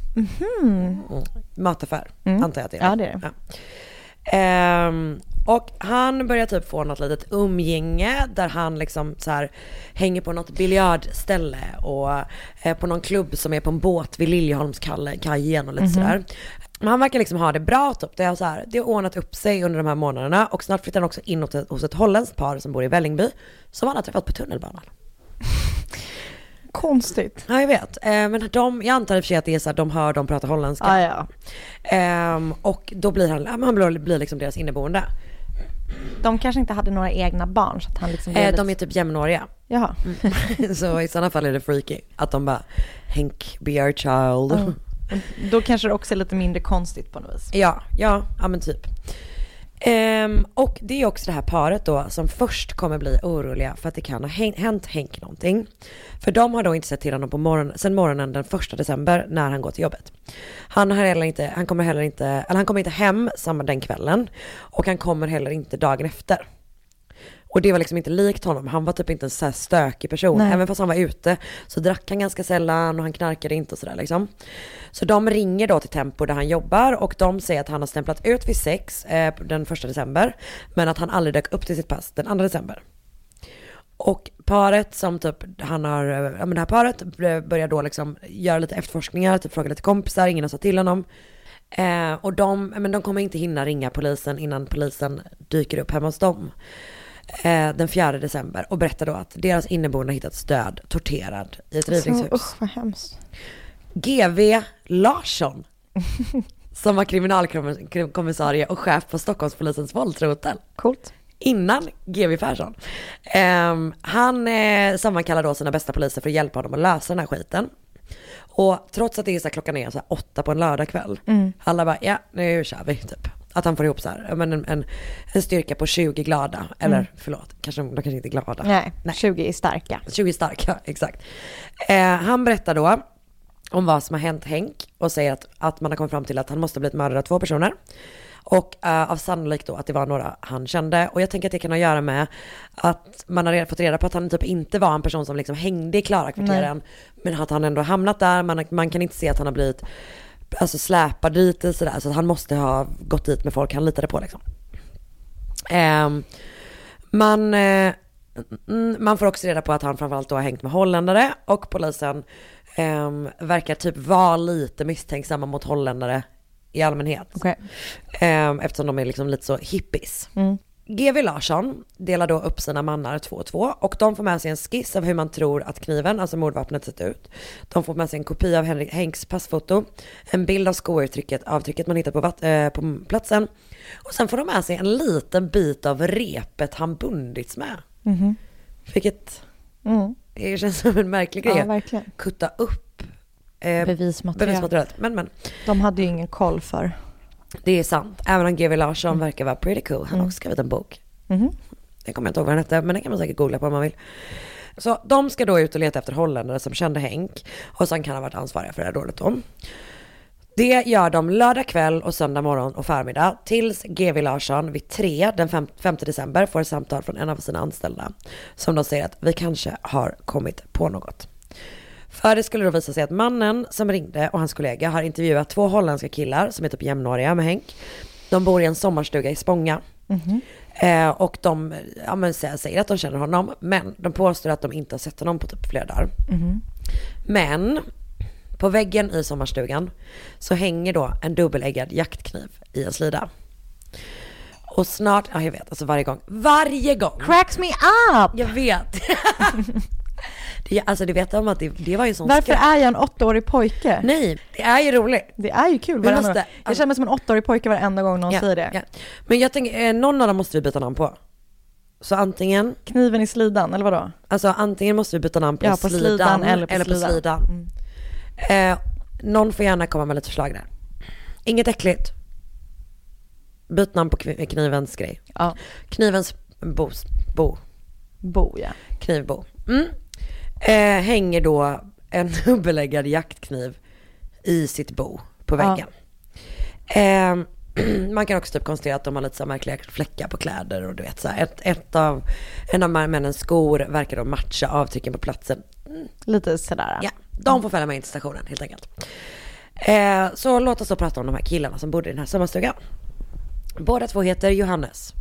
Speaker 1: Mm. Mataffär antar jag att det är.
Speaker 2: Mm. Ja, det är det.
Speaker 1: Ja. Ehm, och han börjar typ få något litet umgänge där han liksom så här hänger på något biljardställe och eh, på någon klubb som är på en båt vid Liljeholmskajen och lite
Speaker 2: Mhm.
Speaker 1: sådär. Men han verkar liksom ha det bra typ. Det har, så här, det har ordnat upp sig under de här månaderna och snart flyttar han också in hos ett, hos ett holländskt par som bor i Vällingby som han har träffat på tunnelbanan.
Speaker 2: Konstigt.
Speaker 1: Ja jag vet, Eh, men de, jag antar i och för sig att det är så här, de hör dem prata holländska.
Speaker 2: Ah, ja.
Speaker 1: Ehm, och då blir han, ja, men han blir, blir liksom deras inneboende.
Speaker 2: De kanske inte hade några egna barn så att han liksom... blev
Speaker 1: Eh,
Speaker 2: lite-
Speaker 1: de är Mm. typ jämnåriga.
Speaker 2: Jaha.
Speaker 1: så i sådana fall är det freaky att de bara Henk be our child.
Speaker 2: Då kanske det också är lite mindre konstigt på något vis.
Speaker 1: Ja, ja, ja men typ. Ehm, och det är också det här paret då som först kommer bli oroliga för att det kan ha häng- hänt Henk någonting. För de har då inte sett till honom på morgon, sen morgonen den första december när han går till jobbet. Han, har heller inte, han, kommer heller inte, eller han kommer inte hem samma den kvällen och han kommer heller inte dagen efter. Och det var liksom inte likt honom. Han var typ inte en så här stökig person.
Speaker 2: Nej.
Speaker 1: Även fast han var ute så drack han ganska sällan och han knarkade inte och sådär liksom. Så de ringer då till Tempo där han jobbar och de säger att han har stämplat ut vid sex eh, den första december. Men att han aldrig dök upp till sitt pass den andra december. Och paret som typ, han har, eh, ja men det här paret b- börjar då liksom göra lite efterforskningar, typ fråga lite kompisar, ingen har sagt till honom. Eh, och de, men de kommer inte hinna ringa polisen innan polisen dyker upp hemma hos dem. Eh, den 4 december och berättar då att deras inneboende har hittats död, torterad i ett rivningshus.
Speaker 2: Alltså, usch vad hemskt.
Speaker 1: GV Larsson. som var kriminalkommissarie och chef på Stockholmspolisens våldsrotel
Speaker 2: Coolt.
Speaker 1: innan GW Persson. Ehm, han eh, sammankallar då sina bästa poliser för att hjälpa honom att lösa den här skiten. Och trots att det är så här, klockan är så här åtta på en lördagkväll. Alla bara, ja nu kör vi typ. Att han får ihop så här, ja, men en, en, en styrka på 20 glada. Eller förlåt, kanske, de kanske inte är glada.
Speaker 2: Nej, 20 är starka.
Speaker 1: 20 starka, exakt. Eh, han berättar då om vad som har hänt Henk och säger att, att man har kommit fram till att han måste ha blivit mördad av två personer. Och eh, av sannolikt då att det var några han kände. Och jag tänker att det kan ha att göra med att man har redan fått reda på att han typ inte var en person som liksom hängde i Klarakvarteren. Men att han ändå har hamnat där. Man, man kan inte se att han har blivit alltså, släpad dit och sådär. Så att han måste ha gått dit med folk han litade på liksom. Ehm, man, eh, mm, man får också reda på att han framförallt då har hängt med holländare och polisen ehm, verkar typ vara lite misstänksamma mot holländare i allmänhet.
Speaker 2: Okej.
Speaker 1: Ehm, eftersom de är liksom lite så hippies.
Speaker 2: Mm.
Speaker 1: GV Larsson delar då upp sina mannar två och två och de får med sig en skiss av hur man tror att kniven, alltså mordvapnet, sett ut. De får med sig en kopia av Henrik Henks passfoto, en bild av skoavtrycket avtrycket man hittar på, vatt, eh, på platsen och sen får de med sig en liten bit av repet han bundits med.
Speaker 2: Mhm.
Speaker 1: Vilket det känns som en märklig grej.
Speaker 2: Mm. Ja,
Speaker 1: att
Speaker 2: verkligen.
Speaker 1: Kutta upp eh,
Speaker 2: Bevismaterial.
Speaker 1: bevismaterialet. Men, men.
Speaker 2: De hade ju ingen koll för.
Speaker 1: Det är sant. Även om GW Larsson verkar vara pretty cool. Han har också skrivit en bok. Den kommer jag inte ihåg vad den hette, men den kan man säkert googla på om man vill. Så de ska då ut och leta efter holländare som kände Henk och som kan ha varit ansvariga för det här dådet då. Det gör de lördag kväll och söndag morgon och förmiddag tills GW Larsson vid tre den fem- 5 december får ett samtal från en av sina anställda som då säger att vi kanske har kommit på något. För det skulle då visa sig att mannen som ringde och hans kollega har intervjuat två holländska killar som är typ jämnåriga med Henk. De bor i en sommarstuga i Spånga. Eh, och de ja, men, sä- säger att de känner honom, men de påstår att de inte har sett honom på typ flera dagar. Men på väggen i sommarstugan så hänger då en dubbeläggad jaktkniv i en slida. Och snart, ja jag vet, alltså varje gång, varje gång
Speaker 2: Cracks me up!
Speaker 1: jag vet. Det, alltså det vet jag om att det, det var ju en sån
Speaker 2: Varför
Speaker 1: sketch.
Speaker 2: är jag en åttaårig pojke?
Speaker 1: Nej, det är ju roligt.
Speaker 2: Det är ju kul.
Speaker 1: Vi
Speaker 2: Varandra.
Speaker 1: måste-
Speaker 2: jag känner mig som en åttaårig pojke varenda gång någon
Speaker 1: Ja,
Speaker 2: säger det.
Speaker 1: ja. Men jag tänker, eh, någon av dem måste vi byta namn på. Så antingen,
Speaker 2: Kniven i slidan, eller vadå?
Speaker 1: alltså antingen måste vi byta namn på,
Speaker 2: Ja, på slidan eller på slidan. Mm.
Speaker 1: Eh, någon får gärna komma med lite förslag där. Inget äckligt. Byt namn på kvi- knivens grej.
Speaker 2: Ja.
Speaker 1: Knivens bos, bo.
Speaker 2: Bo, ja.
Speaker 1: knivbo. Mm. Eh, hänger då en dubbelleggad jaktkniv i sitt bo på
Speaker 2: Ja.
Speaker 1: väggen. Eh, man kan också typ konstatera att de har lite så här märkliga fläckar på kläder och du vet så här, ett, ett av, en av männens skor verkar då matcha avtrycken på platsen.
Speaker 2: Lite sådär.
Speaker 1: Ja, de får följa med in till stationen helt enkelt. Eh, så låt oss då prata om de här killarna som bodde i den här sommarstugan. Båda två heter Johannes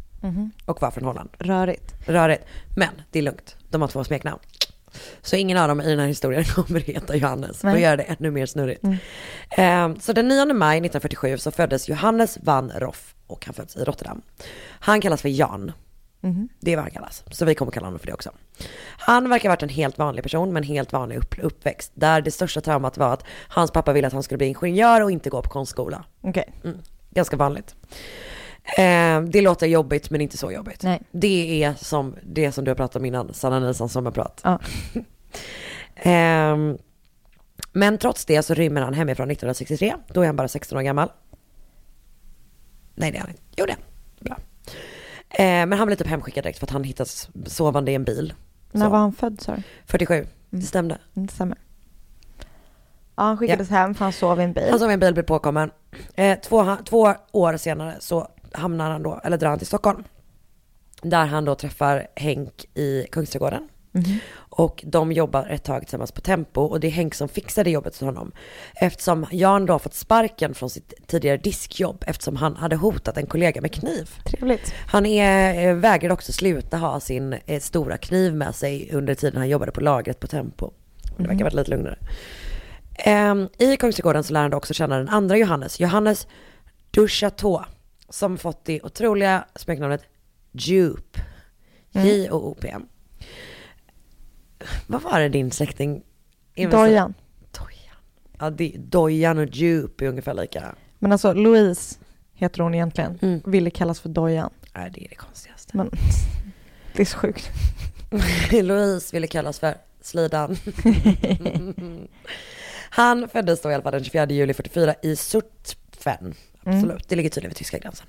Speaker 1: och var från Holland
Speaker 2: Rörigt.
Speaker 1: rörigt. Men det är lugnt, de har två smeknamn. Så ingen av dem i den här historien kommer att heta Johannes och
Speaker 2: Nej.
Speaker 1: gör det ännu mer snurrigt. Eh, Så den 9 maj 1947 så föddes Johannes van Roff och han föddes i Rotterdam. Han kallas för Jan. Det är vad han kallas. Så vi kommer kalla honom för det också. Han verkar ha varit en helt vanlig person med en helt vanlig upp- uppväxt. Där det största traumat var att hans pappa ville att han skulle bli ingenjör och inte gå på konstskola.
Speaker 2: Okej.
Speaker 1: Mm, Ganska vanligt. Eh, det låter jobbigt men inte så jobbigt.
Speaker 2: Nej.
Speaker 1: Det är som det som du har pratat om innan, Sanna Nilssons sommarprat.
Speaker 2: Ja.
Speaker 1: Ehm, men trots det så rymmer han hemifrån 1963, då är han bara 16 år gammal. Nej det är han inte. Jo det är han. Bra. Eh, men han blev typ hemskickad direkt för att han hittas sovande i en bil.
Speaker 2: När
Speaker 1: Så.
Speaker 2: var han Mm. född sa du?
Speaker 1: 47, det stämde.
Speaker 2: Inte stämmer. Ja, han skickades hem för han sov i en bil.
Speaker 1: Han som Alltså, en bil blir påkommen. Eh, två, två år senare så hamnar han då, eller drar han till Stockholm. Där han då träffar Henk i Kungsträdgården.
Speaker 2: Mhm.
Speaker 1: Och de jobbar ett tag tillsammans på Tempo och det är Henk som fixar det jobbet till honom. Eftersom Jan då har fått sparken från sitt tidigare diskjobb eftersom han hade hotat en kollega med kniv.
Speaker 2: Trevligt.
Speaker 1: Han är, eh, vägrade också sluta ha sin eh, stora kniv med sig under tiden han jobbade på lagret på Tempo. Men Det verkar ha varit lite lugnare. Ehm, I Kungsträdgården så lär han då också känna den andra Johannes, Johannes Duchateau, som fått det otroliga smeknamnet Jupe. J-O-O-P. E. Vad var det din släkting?
Speaker 2: Dojan.
Speaker 1: Dojan. Ja, det, Dojan och Jupe är ungefär lika.
Speaker 2: Men alltså Louise heter hon egentligen.
Speaker 1: Mm.
Speaker 2: Ville kallas för Dojan.
Speaker 1: Nej, det är det konstigaste.
Speaker 2: Men det är så sjukt.
Speaker 1: Louise ville kallas för Slidan. Han föddes då i alla fall den 24 juli 44 i Surtfen. Absolut, det ligger tydligen vid tyska gränsen.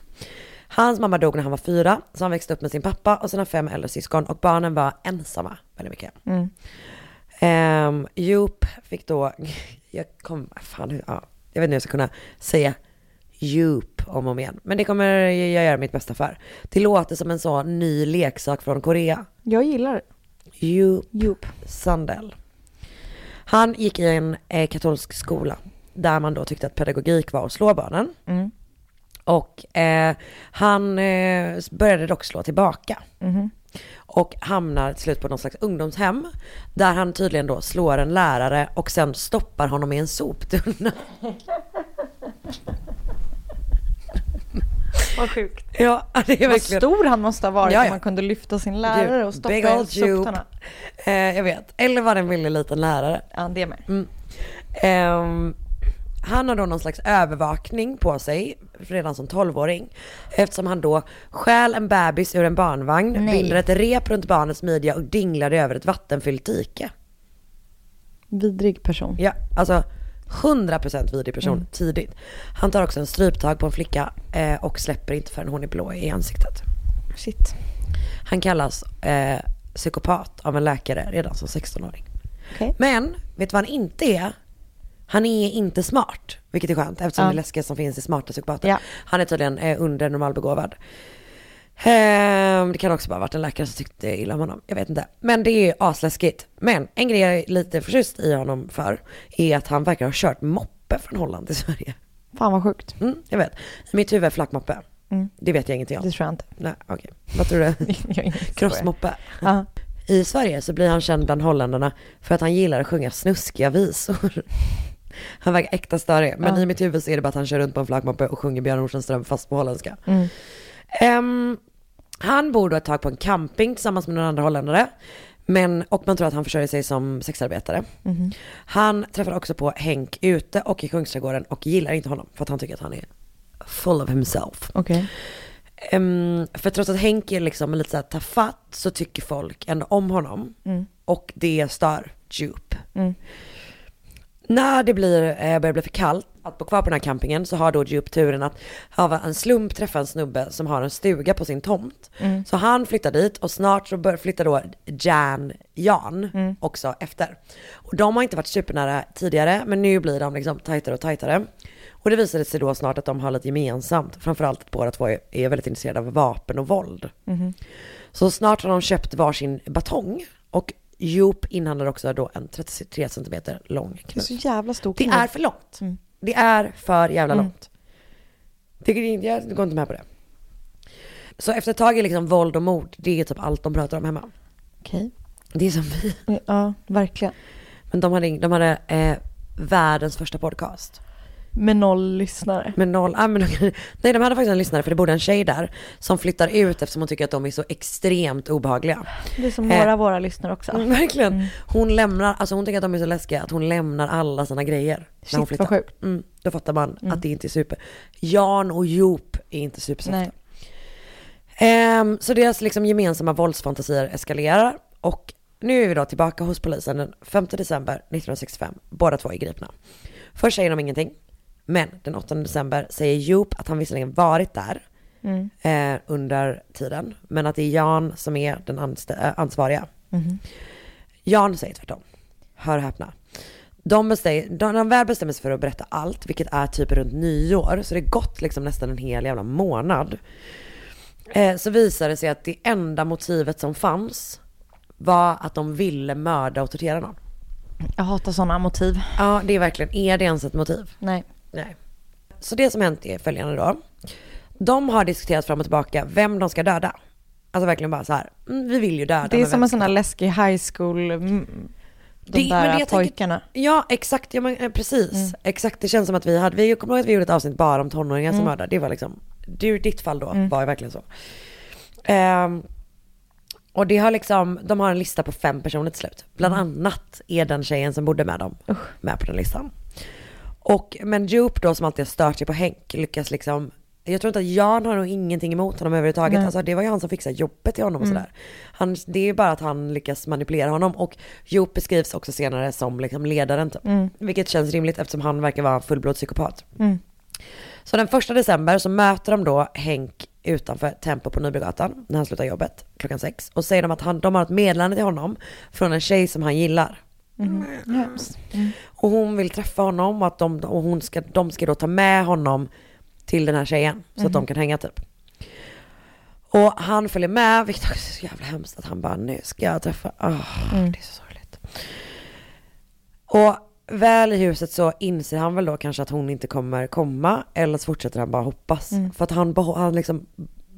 Speaker 1: Hans mamma dog när han var fyra, så han växte upp med sin pappa och sina fem äldre syskon och barnen var ensamma väldigt mycket. Ehm, Joop fick då, jag kom, fan, hur- ja, jag vet inte hur jag ska kunna säga Joop om och om igen. Men det kommer jag göra mitt bästa för. Det låter som en sån ny leksak från Korea.
Speaker 2: Jag gillar
Speaker 1: Joop
Speaker 2: Joop.
Speaker 1: Sandell. Han gick i en eh, katolsk skola där man då tyckte att pedagogik var att slå barnen. Och eh, han eh, började dock slå tillbaka. Och hamnar till slut på någon slags ungdomshem där han tydligen då slår en lärare och sen stoppar honom i en soptunna.
Speaker 2: Vad sjukt.
Speaker 1: ja, det är
Speaker 2: Vad
Speaker 1: verkligen...
Speaker 2: stor han måste ha varit
Speaker 1: Ja,
Speaker 2: om
Speaker 1: ja.
Speaker 2: man kunde lyfta sin lärare och stoppa i
Speaker 1: Big old Jupe.
Speaker 2: soptunna.
Speaker 1: Eh, jag vet. Eller var det en villig liten lärare.
Speaker 2: Ja, det med.
Speaker 1: Mm. Ehm, han har då någon slags övervakning på sig redan som 12-åring. Eftersom han då stjäl en bebis ur en barnvagn, binder ett rep runt barnets midja och dinglar det över ett vattenfyllt dike.
Speaker 2: Vidrig person.
Speaker 1: Ja, alltså 100% vidrig person tidigt. Han tar också en stryptag på en flicka eh, och släpper inte förrän hon är blå i ansiktet.
Speaker 2: Shit.
Speaker 1: Han kallas eh, psykopat av en läkare redan som 16-åring.
Speaker 2: Okej.
Speaker 1: Men, vet du vad han inte är? Han är inte smart, vilket är skönt eftersom
Speaker 2: Ja.
Speaker 1: det läskiga som finns är smarta psykopater.
Speaker 2: Ja.
Speaker 1: Han är tydligen eh, under normalbegåvad. Ehm, det kan också bara ha varit en läkare som tyckte illa om honom. Jag vet inte. Men det är asläskigt. Men en grej jag är lite förtjust i honom för är att han verkar ha kört moppe från Holland till Sverige.
Speaker 2: Fan vad sjukt.
Speaker 1: Mm, jag vet. I mitt huvud är flackmoppe. Det vet jag ingenting om.
Speaker 2: Mm. Det tror jag inte.
Speaker 1: Nej, okej. Vad tror du?
Speaker 2: Jag är ingen historia.
Speaker 1: Krossmoppe.
Speaker 2: Ja.
Speaker 1: I Sverige så blir han känd bland holländarna för att han gillar att sjunga snuskiga visor. Han verkar äkta störig, men i mitt huvud så är det bara att han kör runt på en flaggmoppe och sjunger Björn Rosenström fast på holländska. Ehm, han bor då ett tag på en camping tillsammans med några andra holländare. Men, och man tror att han försörjer sig som sexarbetare. Han träffar också på Henk ute och i Kungsträdgården och gillar inte honom för att han tycker att han är full of himself.
Speaker 2: Okej.
Speaker 1: Ehm, för trots att Henk är liksom lite såhär tafatt så tycker folk ändå om honom. Och det stör Jupe. När det blir, eh, börjar bli för kallt att bo kvar på den här campingen så har då Jupe turen att av en slump träffa en snubbe som har en stuga på sin tomt.
Speaker 2: Mm.
Speaker 1: Så han flyttar dit och snart så bör, flyttar då Jan, Jan
Speaker 2: Mm.
Speaker 1: också efter. Och de har inte varit supernära tidigare men nu blir de liksom tajtare och tajtare. Och det visade sig då snart att de har lite gemensamt. Framförallt att båda två är- är väldigt intresserade av vapen och våld.
Speaker 2: Mm.
Speaker 1: Så snart har de köpt varsin batong och Joop inhandlar också då en 33 cm lång
Speaker 2: Det är så
Speaker 1: kniv.
Speaker 2: jävla stor
Speaker 1: Det
Speaker 2: kniv.
Speaker 1: är för långt. Det är för jävla långt. Tycker inte, jag går inte med på det. Så efter ett tag är liksom våld och mord, det är typ allt de pratar om hemma.
Speaker 2: Okej.
Speaker 1: Det är som vi.
Speaker 2: Ja, verkligen.
Speaker 1: Men de hade, ing- de hade eh, världens första podcast.
Speaker 2: Med noll lyssnare.
Speaker 1: Men noll, ah, men, nej de hade faktiskt en lyssnare för det bodde en tjej där som flyttar ut eftersom hon tycker att de är så extremt obehagliga.
Speaker 2: Det är som
Speaker 1: Eh.
Speaker 2: några av våra lyssnare också.
Speaker 1: Mm, verkligen. Hon lämnar, alltså hon tycker att de är så läskiga att hon lämnar alla sina grejer.
Speaker 2: Shit,
Speaker 1: när hon
Speaker 2: vad
Speaker 1: flyttar.
Speaker 2: sjukt.
Speaker 1: Mm, då fattar man att det inte är super. Jan och Joop är inte supersofta.
Speaker 2: Nej.
Speaker 1: Ehm, så deras liksom gemensamma våldsfantasier eskalerar och nu är vi då tillbaka hos polisen den 5 december 1965. Båda två är gripna. Först säger de ingenting, men den 8 december säger Joop att han visserligen varit där eh, under tiden, men att det är Jan som är den anstä- eh, ansvariga. Jan säger tvärtom. Hör och häpna. De, bestäm, de, de väl bestämmer sig för att berätta allt, vilket är typ runt nyår, så det är gått liksom nästan en hel jävla månad. Eh, så visar det sig att det enda motivet som fanns var att de ville mörda och tortera någon.
Speaker 2: Jag hatar sådana motiv.
Speaker 1: Ja, det är verkligen, är det ens ett motiv?
Speaker 2: Nej.
Speaker 1: Nej. Så det som hänt är följande då. De har diskuterat fram och tillbaka vem de ska döda. Alltså verkligen bara så här, mm, vi vill ju döda.
Speaker 2: Det är
Speaker 1: men
Speaker 2: som
Speaker 1: vem
Speaker 2: en
Speaker 1: ska-
Speaker 2: sån här läskig high school, mm, de
Speaker 1: Det- men det
Speaker 2: där
Speaker 1: jag tänker-
Speaker 2: pojkarna. Mm.
Speaker 1: Ja, exakt. Ja, men, eh, precis. Exakt, det känns som att vi hade, vi kommer ihåg att vi gjorde ett avsnitt bara om tonåringar
Speaker 2: Mm.
Speaker 1: som mördar. Det var liksom, du, ditt fall då var ju verkligen så. Ehm, och det har liksom, de har en lista på fem personer till slut. Bland
Speaker 2: Mm.
Speaker 1: annat är den tjejen som bodde med dem med på den listan. Och, men Joop då som alltid har stört sig på Henk lyckas liksom jag tror inte att Jan har nog ingenting emot honom överhuvudtaget. Alltså, det var ju han som fixade jobbet till honom och sådär. Han, det är ju bara att han lyckas manipulera honom. Och Joop beskrivs också senare som liksom ledaren. Typ. Vilket känns rimligt eftersom han verkar vara en fullblodspsykopat. Så den första december så möter de då Henk utanför Tempo på Nybrogatan när han slutar jobbet klockan sex. Och säger de att han, de har ett meddelande till honom från en tjej som han gillar.
Speaker 2: Hemskt.
Speaker 1: Och hon vill träffa honom och att de, och hon ska, de ska då ta med honom till den här tjejen så att de kan hänga typ. Och han följer med, vilket också är så jävla hemskt att han bara nu ska jag träffa, Ah,
Speaker 2: Mm.
Speaker 1: det är så sorgligt. Och väl i huset så inser han väl då kanske att hon inte kommer komma eller så fortsätter han bara hoppas.
Speaker 2: Mm.
Speaker 1: För att han, behå- han liksom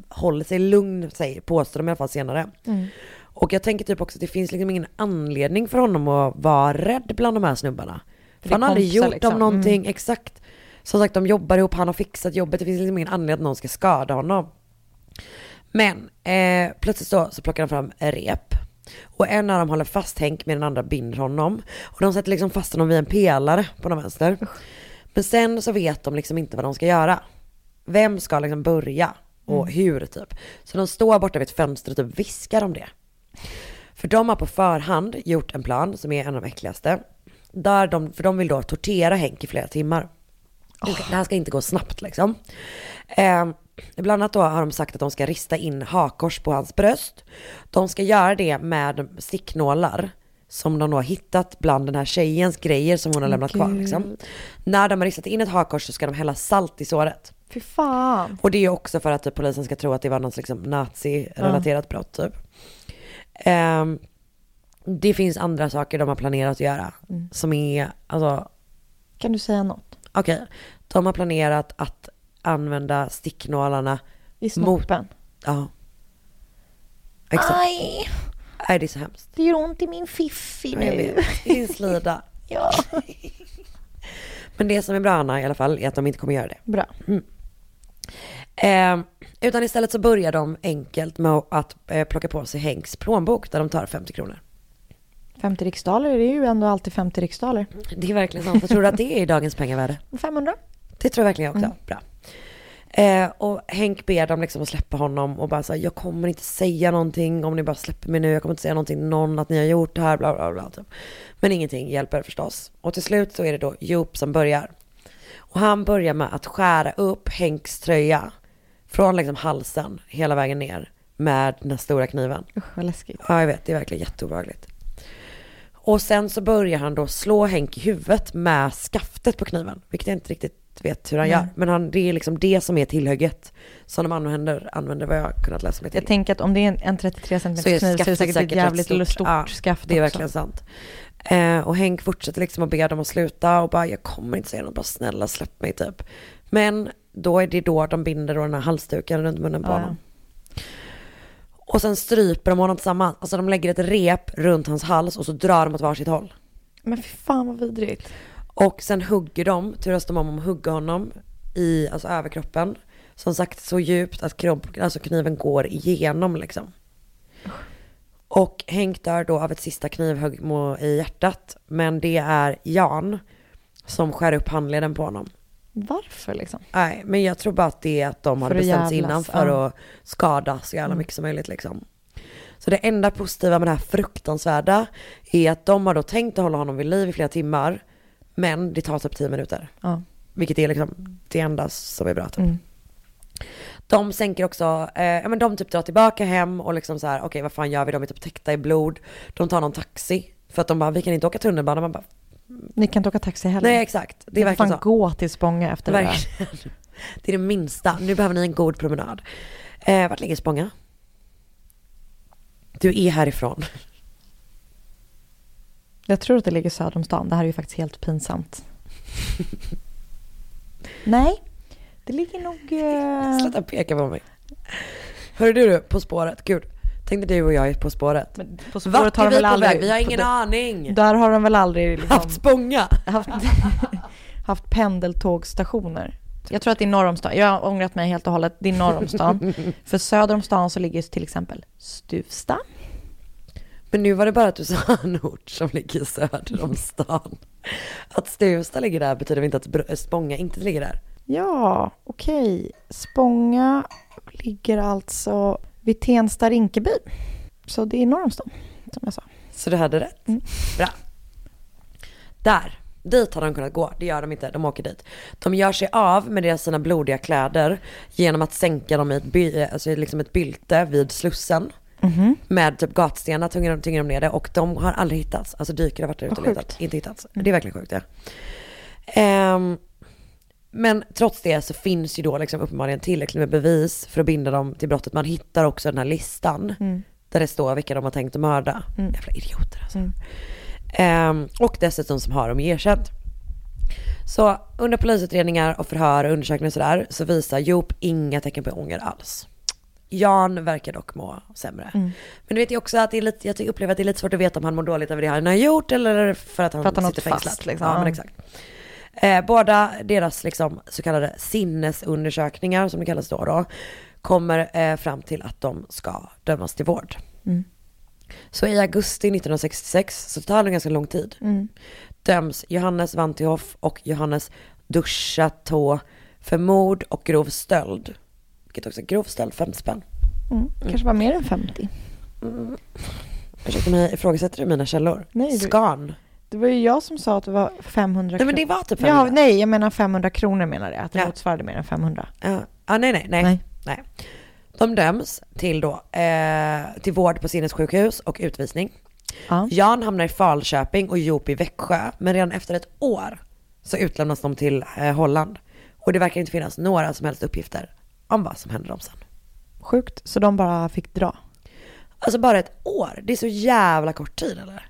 Speaker 1: håller sig lugn, säger, påstår de i alla fall senare.
Speaker 2: Mm.
Speaker 1: Och jag tänker typ också att det finns liksom ingen anledning för honom att vara rädd bland de här snubbarna. För
Speaker 2: Det är
Speaker 1: han har aldrig
Speaker 2: kompisar
Speaker 1: gjort dem
Speaker 2: liksom.
Speaker 1: någonting, exakt. Som sagt de jobbar ihop, han har fixat jobbet, det finns liksom ingen anledning att någon ska skada honom. Men eh, plötsligt så, så plockar de fram rep. Och en av dem håller fast Henk med den andra binder honom. Och de sätter liksom fast honom vid en pelare på någon vänster. Men sen så vet de liksom inte vad de ska göra. Vem ska liksom börja? Och hur typ. Så de står borta vid ett fönster och typ viskar om det. För de har på förhand gjort en plan som är en av de äckligaste. Där de, för de vill då tortera Henk i flera timmar. Det ska- Det här ska inte gå snabbt liksom. Eh, bland annat då har de sagt att de ska rista in hakors på hans bröst. De ska göra det med sticknålar som de då har hittat bland den här tjejens grejer som hon har lämnat kvar. Liksom. När de har ristat in ett hakkors så ska de hälla salt i såret.
Speaker 2: Fy fan.
Speaker 1: Och det är ju också för att typ, polisen ska tro att det var något liksom, nazi-relaterat brott typ. Ehm, det finns andra saker de har planerat att göra som är, alltså
Speaker 2: Kan du säga något?
Speaker 1: okej, de har planerat att använda sticknålarna
Speaker 2: I snoppen.
Speaker 1: ja. Exakt.
Speaker 2: Aj,
Speaker 1: Nej det är så hemskt.
Speaker 2: det gör ont i min fiffi
Speaker 1: Jag
Speaker 2: nu.
Speaker 1: vet. Din slida.
Speaker 2: Ja.
Speaker 1: Men det som är bra Anna i alla fall är att de inte kommer göra det.
Speaker 2: Bra.
Speaker 1: Eh, utan istället så börjar de enkelt med att eh, plocka på sig Henks plånbok där de tar 50 kronor.
Speaker 2: 50 riksdaler, det är ju ändå alltid 50 riksdaler.
Speaker 1: Det är verkligen sant. Vad tror du att det är i dagens pengavärde?
Speaker 2: 500?
Speaker 1: Det tror jag verkligen jag också. Bra. Eh, och Henk ber dem liksom att släppa honom och bara säga jag kommer inte säga någonting om ni bara släpper mig nu. Jag kommer inte säga någonting till någon att ni har gjort det här, bla bla bla. Typ. Men ingenting hjälper förstås. Och till slut så är det då Joop som börjar. Och han börjar med att skära upp Henks tröja från liksom halsen hela vägen ner med den här stora kniven.
Speaker 2: Usch vad läskigt.
Speaker 1: Ja, jag vet. Det är verkligen jätteobehagligt. Och sen så börjar han då slå Henk i huvudet med skaftet på kniven, vilket jag inte riktigt vet hur han gör. Men han, det är liksom det som är tillhygget som de använder, använder vad jag har kunnat läsa mig till.
Speaker 2: Jag tänker att om det är en, en 33 cm
Speaker 1: Så är
Speaker 2: kniv så är det
Speaker 1: skaftet
Speaker 2: säkert ett
Speaker 1: säkert
Speaker 2: jävligt
Speaker 1: rätt
Speaker 2: stort,
Speaker 1: Ja,
Speaker 2: skaft
Speaker 1: Det är
Speaker 2: också.
Speaker 1: verkligen sant. Eh, och Henk fortsätter liksom att be dem att sluta och bara jag kommer inte säga något, bara snälla släpp mig typ. Men då är det då de binder då den här halsduken runt munnen på
Speaker 2: Ja, ja.
Speaker 1: honom. Och sen stryper de honom tillsammans. Alltså de lägger ett rep runt hans hals och så drar de åt varsitt håll.
Speaker 2: Men fy fan vad vidrigt.
Speaker 1: Och sen hugger de, turas de om om att hugga honom i alltså överkroppen. Som sagt så djupt att kropp, alltså kniven går igenom liksom. Och Henk dör då av ett sista knivhugg mo- i hjärtat. Men det är Jan som skär upp handleden på honom.
Speaker 2: Varför liksom?
Speaker 1: Nej, men jag tror bara att det är att de hade
Speaker 2: För att
Speaker 1: bestämt sig
Speaker 2: jävlas,
Speaker 1: innan för
Speaker 2: ja. Mm.
Speaker 1: att skada så jävla mycket som möjligt liksom. Så det enda positiva med det här fruktansvärda är att de har då tänkt att hålla honom vid liv i flera timmar. Men det tar typ 10 minuter.
Speaker 2: Ja.
Speaker 1: Vilket är liksom det enda som är bra typ.
Speaker 2: Mm.
Speaker 1: De sänker också, eh, ja men de typ drar tillbaka hem och liksom så här, okej vad fan gör vi? De är typ täckta i blod. De tar någon taxi. För att de bara, vi kan inte åka tunnelbana. Man bara,
Speaker 2: Ni kan inte åka taxi heller.
Speaker 1: nej exakt. Det är
Speaker 2: Ni får
Speaker 1: verkligen
Speaker 2: fan
Speaker 1: så.
Speaker 2: gå till Spånga efter det där.
Speaker 1: Verkligen. Det är det minsta. Nu behöver ni en god promenad. Eh, vart ligger Spånga? Du är härifrån.
Speaker 2: Jag tror att det ligger söder om stan. Det här är ju faktiskt helt pinsamt. Nej, det ligger nog... eh,
Speaker 1: Sluta peka på mig. Hörru du, du, På spåret. Gud, tänk dig du och jag är På spåret.
Speaker 2: Men På
Speaker 1: Vart
Speaker 2: spåret har
Speaker 1: är
Speaker 2: de
Speaker 1: vi
Speaker 2: väl
Speaker 1: på
Speaker 2: aldrig...
Speaker 1: väg? Vi har ingen
Speaker 2: på-
Speaker 1: aning.
Speaker 2: Där har de väl aldrig liksom
Speaker 1: Haft Spånga.
Speaker 2: haft, haft pendeltågsstationer. Jag tror att det är norr om stan. Jag har ångrat mig helt och hållet. Det är norr om stan. För söder om stan så ligger till exempel Stuvsta.
Speaker 1: Men nu var det bara att du sa en ort som ligger söder om stan. Att Stuvsta ligger där betyder väl inte att Br- Spånga inte ligger där?
Speaker 2: Ja, okej. Spånga ligger alltså vid Tensta-Rinkeby. Så det är norr om stan, som jag sa.
Speaker 1: Så du hade rätt.
Speaker 2: Mm.
Speaker 1: Bra. Där. Dit hade de kunnat gå. Det gör de inte. De åker dit. De gör sig av med deras sina blodiga kläder genom att sänka dem i ett, by, alltså i liksom ett bylte vid Slussen.
Speaker 2: Mm-hmm.
Speaker 1: Med typ gatstenar tynger de, tynger de ner det och de har aldrig hittats. Alltså dykare har varit där ute och
Speaker 2: Vad
Speaker 1: letat.
Speaker 2: sjukt.
Speaker 1: Inte hittats. Det är verkligen sjukt ja. Ehm, men trots det så finns ju då liksom uppenbarligen tillräckligt med bevis för att binda dem till brottet. Man hittar också den här listan där det står vilka de har tänkt att mörda. Jävla idioter alltså. Ehm, och dessutom som har de erkänt. Så under polisutredningar och förhör och undersökningar och sådär så visar Joop inga tecken på ånger alls. Jan verkar dock må sämre.
Speaker 2: Mm.
Speaker 1: Men du vet ju också att det är lite, jag tycker- upplever att det är lite svårt att veta om han mår dåligt över det han har gjort eller för att han,
Speaker 2: För att han
Speaker 1: sitter
Speaker 2: åkt fast,
Speaker 1: fängslad.
Speaker 2: liksom.
Speaker 1: Ja, men exakt. Eh, båda deras liksom, så kallade sinnesundersökningar, som det kallas då, då kommer eh, fram till att de ska dömas till vård. Så i augusti 1966, så det tar nog ganska lång tid,
Speaker 2: Mm.
Speaker 1: döms Johannes Vantihoff och Johannes Duschatå för mord och grov stöld. Vilket också är grov stöld, fem spänn.
Speaker 2: Mm. Kanske var mer än 50.
Speaker 1: Ursäkta mig, ifrågasätter du mina källor?
Speaker 2: Nej, du-
Speaker 1: Skan?
Speaker 2: Det var ju jag som sa att det var 500
Speaker 1: Nej men det var typ 500.
Speaker 2: Ja, nej, jag menar 500 kronor menar jag. Att det
Speaker 1: Ja.
Speaker 2: motsvarade mer än 500.
Speaker 1: Ja, ah, nej, nej, nej, nej.
Speaker 2: Nej.
Speaker 1: De döms till, då, eh, till vård på sinnessjukhus och utvisning.
Speaker 2: Ja.
Speaker 1: Jan hamnar i Falköping och Joop i Växjö. Men redan efter ett år så utlämnas de till eh, Holland. Och det verkar inte finnas några som helst uppgifter om vad som hände dem sen.
Speaker 2: Sjukt. Så de bara fick dra.
Speaker 1: Alltså bara ett år, det är så jävla kort tid eller?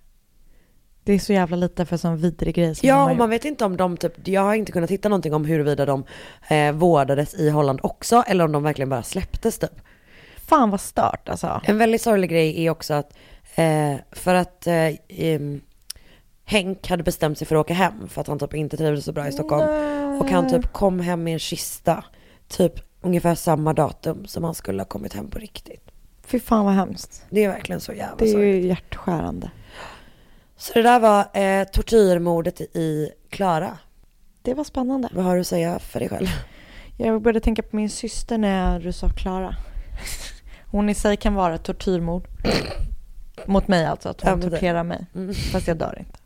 Speaker 2: Det är så jävla lite för sån vidrig grej som de
Speaker 1: Ja,
Speaker 2: har
Speaker 1: och man
Speaker 2: gjort.
Speaker 1: vet inte om de typ, jag har inte kunnat hitta någonting om huruvida de eh, vårdades i Holland också eller om de verkligen bara släpptes typ.
Speaker 2: Fan vad stört alltså.
Speaker 1: En väldigt sorglig grej är också att eh, för att eh, em, Henk hade bestämt sig för att åka hem för att han typ inte trivdes så bra i Stockholm. Och han typ kom hem med en kista typ ungefär samma datum som han skulle ha kommit hem på riktigt.
Speaker 2: Fy fan vad hemskt.
Speaker 1: Det är verkligen så jävla
Speaker 2: Det är
Speaker 1: sorgligt.
Speaker 2: ju hjärtskärande.
Speaker 1: Så det där var eh, tortyrmordet i Klara.
Speaker 2: Det var spännande.
Speaker 1: Vad har du att säga för dig själv?
Speaker 2: Jag började tänka på min syster när du sa Klara. Hon i sig kan vara ett tortyrmord. Mot mig alltså, att
Speaker 1: Ja,
Speaker 2: hon
Speaker 1: men det- Mm.
Speaker 2: torterar mig. Fast jag dör inte.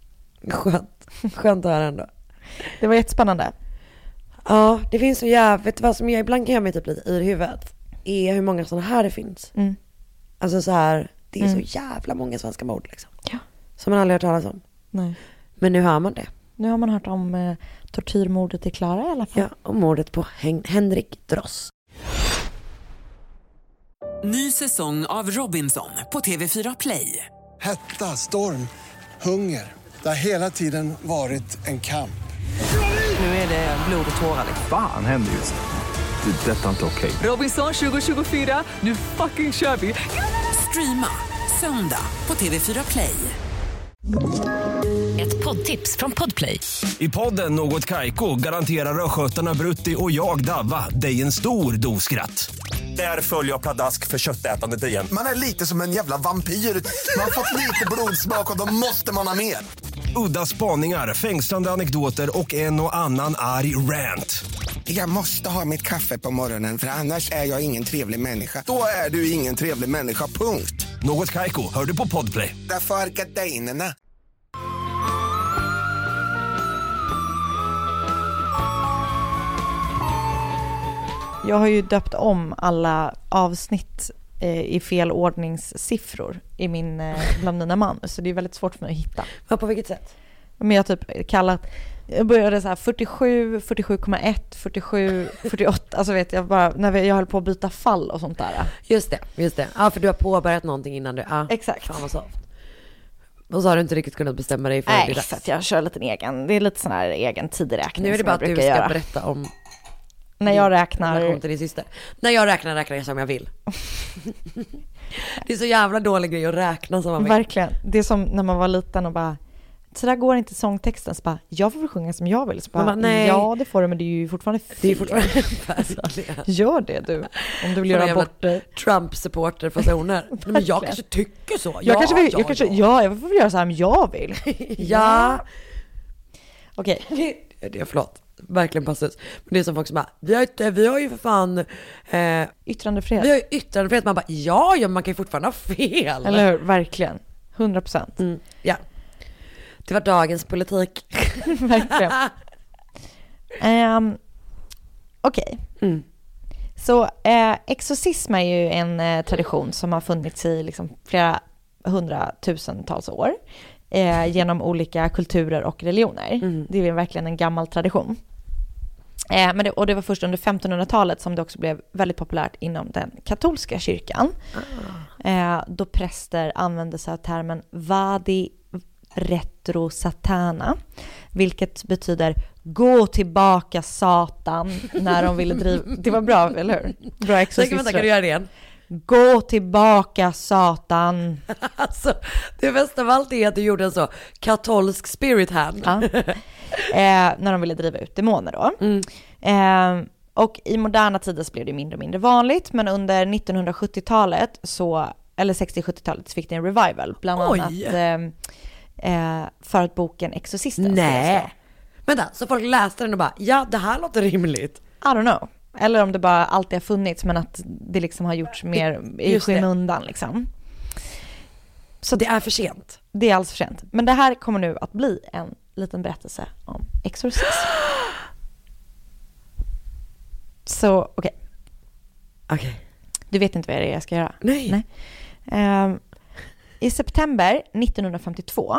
Speaker 1: Skönt. Skönt att höra ändå.
Speaker 2: Det var jättespännande.
Speaker 1: Ja, det finns så jävligt, vad som jag ibland kan göra mig typ lite yr i huvudet är hur många sådana här det finns.
Speaker 2: Mm.
Speaker 1: Alltså så här, det är så jävla många svenska mord liksom.
Speaker 2: Ja.
Speaker 1: Som man aldrig hört talas om.
Speaker 2: Nej.
Speaker 1: Men nu hör man det.
Speaker 2: Nu har man hört om eh, tortyrmordet i Klara i alla fall.
Speaker 1: Ja, och mordet på Hen- Henrik Dross.
Speaker 6: Ny säsong av Robinson på TV4 Play.
Speaker 7: Hetta, storm, hunger. Det har hela tiden varit en kamp.
Speaker 6: Nu är det blod och tårar.
Speaker 8: Fan händer just nu. Det. är Detta är inte okej.
Speaker 6: Robinson 2024, nu fucking kör vi! Streama söndag på TV4 Play.
Speaker 3: Ett poddtips från Podplay.
Speaker 4: I podden Något Kaiko garanterar östgötarna Brutti och jag, Davva, dig en stor dos skratt. Där följer jag pladask för köttätandet igen.
Speaker 5: Man är lite som en jävla vampyr. Man har fått lite blodsmak och då måste man ha mer.
Speaker 4: Udda spaningar, fängslande anekdoter och en och annan arg rant.
Speaker 5: Jag måste ha mitt kaffe på morgonen för annars är jag ingen trevlig människa. Då är du ingen trevlig människa, punkt.
Speaker 4: Något Kaiko, hör du på Podplay.
Speaker 5: Därför är gardinerna.
Speaker 2: Jag har ju döpt om alla avsnitt eh, i fel ordningssiffror i min, eh, bland mina manus. Så det är väldigt svårt för mig att hitta.
Speaker 1: Vad på vilket sätt?
Speaker 2: Men jag har typ kallat, jag började så här 47, 47,1, 47, 48. Alltså vet jag bara, när vi- jag höll på att byta fall och sånt där.
Speaker 1: Just det, just det. Ja, för du har påbörjat någonting innan du, ja.
Speaker 2: Exakt.
Speaker 1: Fan vad soft. Och så har du inte riktigt kunnat bestämma dig för
Speaker 2: Nej,
Speaker 1: det där.
Speaker 2: så att jag kör lite en egen, det är lite sån här egen tideräkning
Speaker 1: Nu är det
Speaker 2: som
Speaker 1: bara
Speaker 2: jag
Speaker 1: att du
Speaker 2: brukar
Speaker 1: ska
Speaker 2: göra.
Speaker 1: berätta om
Speaker 2: När jag räknar,
Speaker 1: relation till din syster. När jag räknar räknar jag som jag vill. det är så jävla dålig grej att räkna som man vill.
Speaker 2: verkligen, det är som när man var liten och bara så där går inte sångtexten, så bara jag får väl sjunga som jag vill. Så bara,
Speaker 1: Man bara, nej.
Speaker 2: ja det får du men det är ju fortfarande fel.
Speaker 1: Det är fortfarande verkligen.
Speaker 2: Gör det du, om du vill göra
Speaker 1: Såna
Speaker 2: bort dig.
Speaker 1: Trump-supporterfasoner. Nej, men jag kanske tycker så.
Speaker 2: Jag kanske vill, jag
Speaker 1: ja,
Speaker 2: kanske,
Speaker 1: ja.
Speaker 2: ja, jag får väl göra så här om jag vill.
Speaker 1: ja.
Speaker 2: Okej,
Speaker 1: Det- Det, förlåt. Verkligen passus. Men det är som folk som bara, vi har, inte, vi har ju för fan, eh,
Speaker 2: yttrandefrihet.
Speaker 1: vi har ju yttrandefrihet. Man bara, ja, ja, men man kan ju fortfarande ha fel.
Speaker 2: Eller hur? Verkligen. 100 procent.
Speaker 1: Mm, ja. Det var dagens politik.
Speaker 2: Verkligen. Ehm, Okej. Så eh, exorcism är ju en eh, tradition som har funnits i liksom, flera hundratusentals år eh, genom olika kulturer och religioner.
Speaker 1: Mm.
Speaker 2: Det är ju verkligen en gammal tradition. Eh, men det, och det var först under 1500-talet som det också blev väldigt populärt inom den katolska kyrkan.
Speaker 1: Ah.
Speaker 2: Eh, då präster använde sig av termen vadi retro satana, vilket betyder gå tillbaka satan när de ville driva... Det var bra, eller hur? Bra
Speaker 1: Tänk, vänta, kan du
Speaker 2: exorcist.
Speaker 1: göra det igen?
Speaker 2: Gå tillbaka satan.
Speaker 1: Alltså, det bästa av allt är att du gjorde en så katolsk spirit hand.
Speaker 2: Ja. eh, när de ville driva ut demoner då.
Speaker 1: Mm.
Speaker 2: Eh, och i moderna tider så blev det mindre och mindre vanligt, men under 1970-talet så, eller 60-70-talet så fick det en revival, bland
Speaker 1: Oj.
Speaker 2: annat ehm, eh, eh, för att boken Exorcisten skrevs då.
Speaker 1: Nej. Vänta, så folk läste den och bara, ja det här låter rimligt.
Speaker 2: I don't know. Eller om det bara alltid har funnits men att det liksom har gjorts mer i
Speaker 1: Just det.
Speaker 2: skymundan liksom.
Speaker 1: Så det är för sent.
Speaker 2: Det är alls för sent. Men det här kommer nu att bli en liten berättelse om exorcism. Så okej,
Speaker 1: Okej.
Speaker 2: du vet inte vad det är jag ska göra?
Speaker 1: Nej.
Speaker 2: Ehm, I september 1952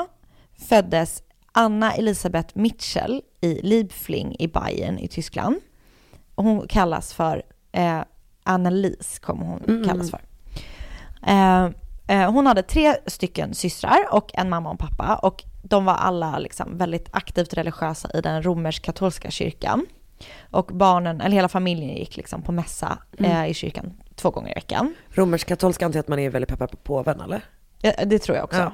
Speaker 2: föddes Anna Elisabeth Mitchell i Liebfling i Bayern i Tyskland. Och Hon kallas för eh, Annelies, kommer hon kallas för. Eh, eh, hon hade tre stycken systrar och en mamma och en pappa och de var alla liksom väldigt aktivt religiösa i den romersk-katolska kyrkan. Och barnen, eller hela familjen gick liksom på mässa eh, i kyrkan två gånger i veckan.
Speaker 1: Romersk-katolska antar jag att man är väldigt peppad på påven eller?
Speaker 2: Ja, det tror jag också.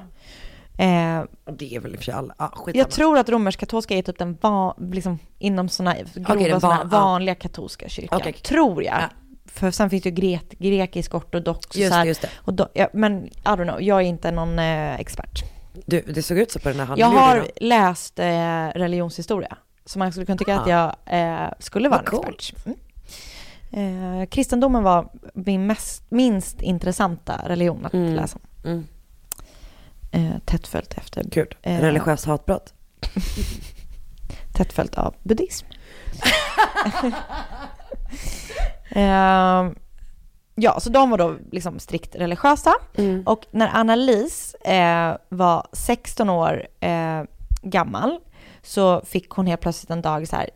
Speaker 2: Eh,
Speaker 1: Och Det är väl i och för sig alla, ah, skitsamma.
Speaker 2: jag tror att romersk-katolska är typ den van, liksom, inom såna grova
Speaker 1: Okej, den
Speaker 2: såna här
Speaker 1: van- ja.
Speaker 2: vanliga katolska kyrkan.
Speaker 1: Okej.
Speaker 2: Tror jag.
Speaker 1: Ja.
Speaker 2: För sen finns det ju grek, grekisk ortodox och
Speaker 1: Just
Speaker 2: så här.
Speaker 1: det, just det.
Speaker 2: Och då, ja, men I don't know, jag är inte någon eh, expert.
Speaker 1: Du, det såg ut så på den här
Speaker 2: Jag
Speaker 1: handleden.
Speaker 2: har läst eh, religionshistoria, så man skulle kunna tycka att jag eh, skulle vara en
Speaker 1: Ah. Vad
Speaker 2: expert. Mm. Eh, kristendomen var min mest, minst intressanta religion att
Speaker 1: Mm.
Speaker 2: läsa om.
Speaker 1: Mm.
Speaker 2: Eh, tätt följt efter
Speaker 1: Gud,
Speaker 2: Eh.
Speaker 1: religiöst hatbrott.
Speaker 2: tätt följt av buddhism. Ehm, ja, så de var då liksom strikt religiösa. Och när Annalise eh, var 16 år eh, gammal så fick hon helt plötsligt en dag så här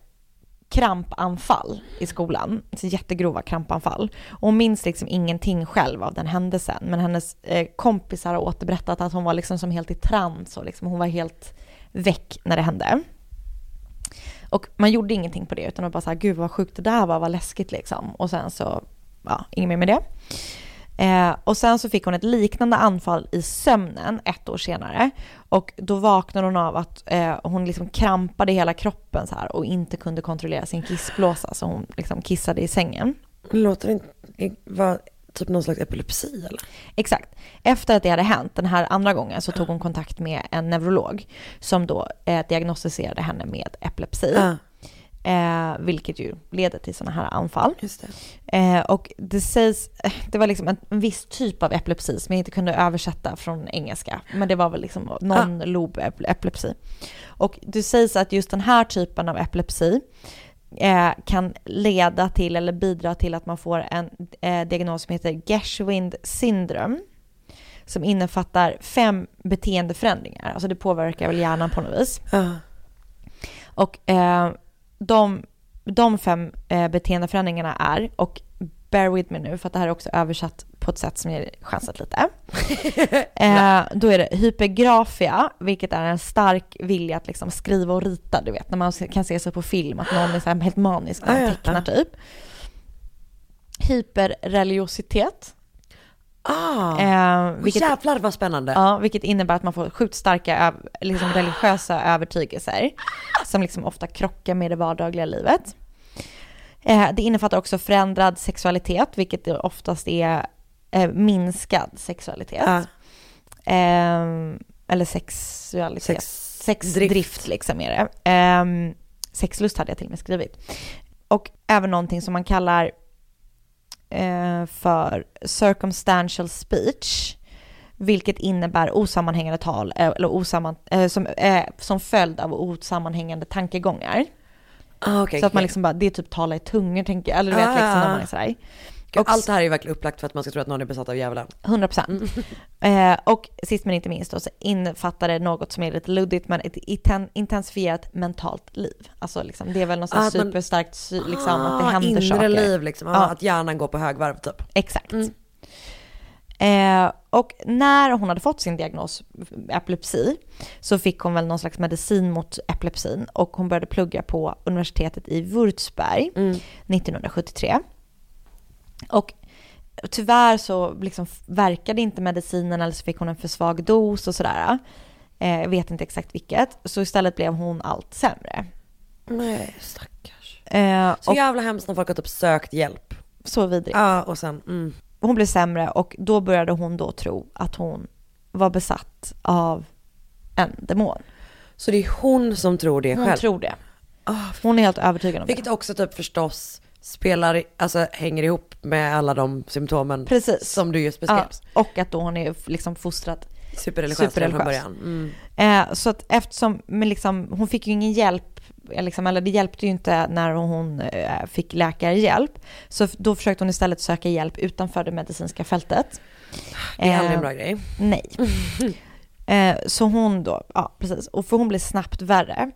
Speaker 2: krampanfall i skolan. Så jättegrova krampanfall. Och hon minns liksom ingenting själv av den händelsen. Men hennes eh, kompisar har återberättat att hon var liksom som helt i trans och liksom, hon var helt väck när det hände. Och man gjorde ingenting på det utan man bara så här, gud vad sjukt det där var, vad läskigt liksom. Och sen så, ja, inget mer med det. Eh, och sen så fick hon ett liknande anfall i sömnen ett år senare. Och då vaknade hon av att eh, hon liksom krampade i hela kroppen så här och inte kunde kontrollera sin kissblåsa så hon liksom kissade i sängen.
Speaker 1: Låter det inte vara typ någon slags epilepsi eller?
Speaker 2: Exakt. Efter att det hade hänt den här andra gången så tog hon kontakt med en neurolog som då eh, diagnostiserade henne med epilepsi.
Speaker 1: Ja,
Speaker 2: Eh, vilket ju leder till sådana här anfall.
Speaker 1: just det.
Speaker 2: Eh, och det sägs, eh, det var liksom en, en viss typ av epilepsi som jag inte kunde översätta från engelska. Men det var väl liksom någon lob ep- epilepsi. Och det sägs att just den här typen av epilepsi eh, kan leda till eller bidra till att man får en eh, diagnos som heter Gershwind syndrom. Som innefattar fem beteendeförändringar. Alltså det påverkar väl hjärnan på något vis.
Speaker 1: Ja.
Speaker 2: Och eh, de, de fem eh, beteendeförändringarna är, och bear with me nu för att det här är också översatt på ett sätt som ger chansat lite. eh, då är det hypergrafia, vilket är en stark vilja att liksom skriva och rita, du vet när man kan se sig på film att någon är så här helt manisk när
Speaker 1: Ah,
Speaker 2: man
Speaker 1: ja.
Speaker 2: tecknar typ. Hyperreligiositet,
Speaker 1: Ah,
Speaker 2: eh,
Speaker 1: och
Speaker 2: vilket
Speaker 1: jävlar vad spännande.
Speaker 2: Ja, vilket innebär att man får sjukt starka öv- liksom religiösa övertygelser som liksom ofta krockar med det vardagliga livet. Eh, Det innefattar också förändrad sexualitet, vilket det oftast är eh, minskad sexualitet.
Speaker 1: Ja.
Speaker 2: Ehm, eller sexualitet.
Speaker 1: Sex-
Speaker 2: Sexdrift
Speaker 1: drift.
Speaker 2: liksom är det. Ehm, sexlust hade jag till och med skrivit. Och även någonting som man kallar eh, för circumstantial speech. Vilket innebär osammanhängande tal eh, eller osamman, eh, som, eh, som följd av osammanhängande tankegångar.
Speaker 1: Ah, okej,
Speaker 2: så att man
Speaker 1: okej.
Speaker 2: liksom bara, det är typ tala i tungor tänker jag. Eller du vet
Speaker 1: Ah,
Speaker 2: liksom
Speaker 1: ja,
Speaker 2: när
Speaker 1: ja.
Speaker 2: man är sådär.
Speaker 1: Gud, Allt det här är ju verkligen upplagt för att man ska tro att någon är besatt av djävulen.
Speaker 2: 100 procent. Eh, och sist men inte minst då, så innefattar det något som är lite luddigt men ett iten- intensifierat mentalt liv. Alltså liksom, det är väl något
Speaker 1: Ah,
Speaker 2: ah,
Speaker 1: att man-
Speaker 2: superstarkt, sy- liksom, att det
Speaker 1: Ah,
Speaker 2: händer
Speaker 1: inre
Speaker 2: saker.
Speaker 1: liv liksom, ah,
Speaker 2: Ja.
Speaker 1: att hjärnan går på högvarv typ.
Speaker 2: Exakt. Eh, och när hon hade fått sin diagnos epilepsi så fick hon väl någon slags medicin mot epilepsin och hon började plugga på universitetet i Würzburg
Speaker 1: Mm.
Speaker 2: 1973. Och tyvärr så liksom verkade inte medicinen eller så fick hon en för svag dos och sådär. Eh, jag vet inte exakt vilket. Så istället blev hon allt sämre.
Speaker 1: Nej, stackars.
Speaker 2: Eh,
Speaker 1: Så
Speaker 2: och
Speaker 1: jävla hemskt när folk har typ sökt hjälp.
Speaker 2: så vidrigt.
Speaker 1: Ja, och sen, mm.
Speaker 2: hon blev sämre och då började hon då tro att hon var besatt av en demon.
Speaker 1: Så det är hon som tror det
Speaker 2: Hon
Speaker 1: själv. Ah,
Speaker 2: tror det. Hon är helt övertygad om
Speaker 1: Vilket
Speaker 2: det.
Speaker 1: också typ förstås spelar, i- alltså hänger ihop med alla de symptomen
Speaker 2: Precis.
Speaker 1: som du just
Speaker 2: Ja,
Speaker 1: beskrev.
Speaker 2: och att då hon är liksom fostrad.
Speaker 1: Superreligiös redan från
Speaker 2: Superreligiös.
Speaker 1: början. Mm.
Speaker 2: Eh, så att eftersom, men liksom, hon fick ju ingen hjälp, eh, liksom, eller det hjälpte ju inte när hon eh, fick läkarhjälp. Så f- då försökte hon istället söka hjälp utanför det medicinska fältet.
Speaker 1: Det är aldrig
Speaker 2: Eh,
Speaker 1: en bra grej.
Speaker 2: Nej. Eh, Så hon då, ja precis, och för hon blir snabbt värre.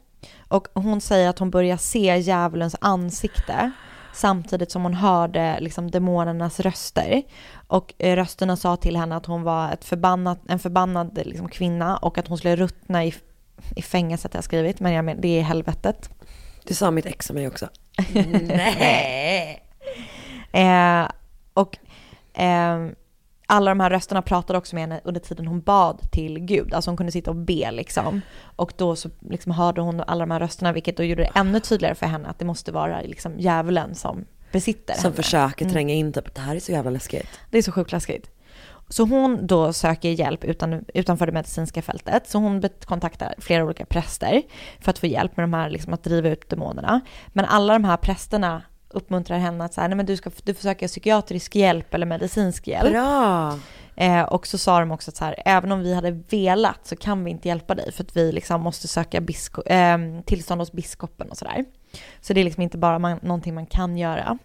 Speaker 2: Och hon säger att hon börjar se djävulens ansikte samtidigt som hon hörde liksom demonernas röster. Och eh, rösterna sa till henne att hon var ett förbannat, en förbannad liksom kvinna och att hon skulle ruttna i, i fängelset har jag skrivit, men jag men, det är helvetet.
Speaker 1: Det sa mitt ex om mig också.
Speaker 2: Eh, och ehm, alla de här rösterna pratade också med henne under tiden hon bad till Gud. Alltså hon kunde sitta och be liksom. Och då så liksom hörde hon alla de här rösterna vilket då gjorde det ännu tydligare för henne att det måste vara liksom djävulen som besitter
Speaker 1: Som
Speaker 2: henne.
Speaker 1: Mm. försöker tränga in typ, det här är så jävla läskigt.
Speaker 2: Det är så sjukt läskigt. Så hon då söker hjälp utan, utanför det medicinska fältet. Så hon bet- kontaktar flera olika präster för att få hjälp med de här, liksom, att driva ut demonerna. Men alla de här prästerna uppmuntrar henne att så här, nej men du ska du får söka psykiatrisk hjälp eller medicinsk hjälp.
Speaker 1: Bra.
Speaker 2: Eh, och så sa de också att så här, även om vi hade velat så kan vi inte hjälpa dig för att vi liksom måste söka bisko- eh, tillstånd hos biskopen och sådär. Så det är liksom inte bara man, någonting man kan göra.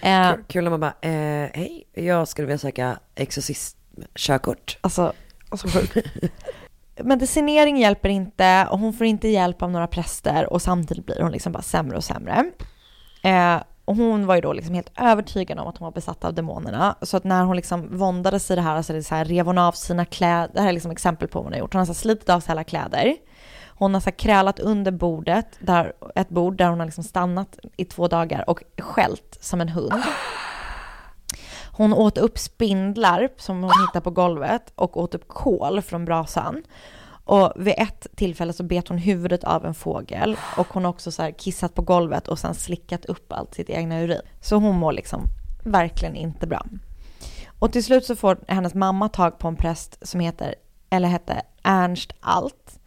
Speaker 2: Eh,
Speaker 1: Kul- Kul när man bara, eh, hej, jag skulle vilja söka exorcistkörkort.
Speaker 2: alltså, alltså medicinering hjälper inte och hon får inte hjälp av några präster och samtidigt blir hon liksom bara sämre och sämre. Eh, och hon var ju då liksom helt övertygad om att hon var besatt av demonerna. Så att när hon liksom våndades i det här, alltså det är så här rev hon av sina kläder, det här är liksom exempel på vad hon har gjort. Hon har så här slitit av sig alla kläder. Hon har så här krälat under bordet, där, ett bord där hon har liksom stannat i två dagar och skällt som en hund. Hon åt upp spindlar som hon hittade på golvet och åt upp kol från brasan. Och vid ett tillfälle så bet hon huvudet av en fågel och hon har också så här kissat på golvet och sen slickat upp allt sitt egna urin. Så hon mår liksom verkligen inte bra. Och till slut så får hennes mamma tag på en präst som heter, eller hette Ernst Alt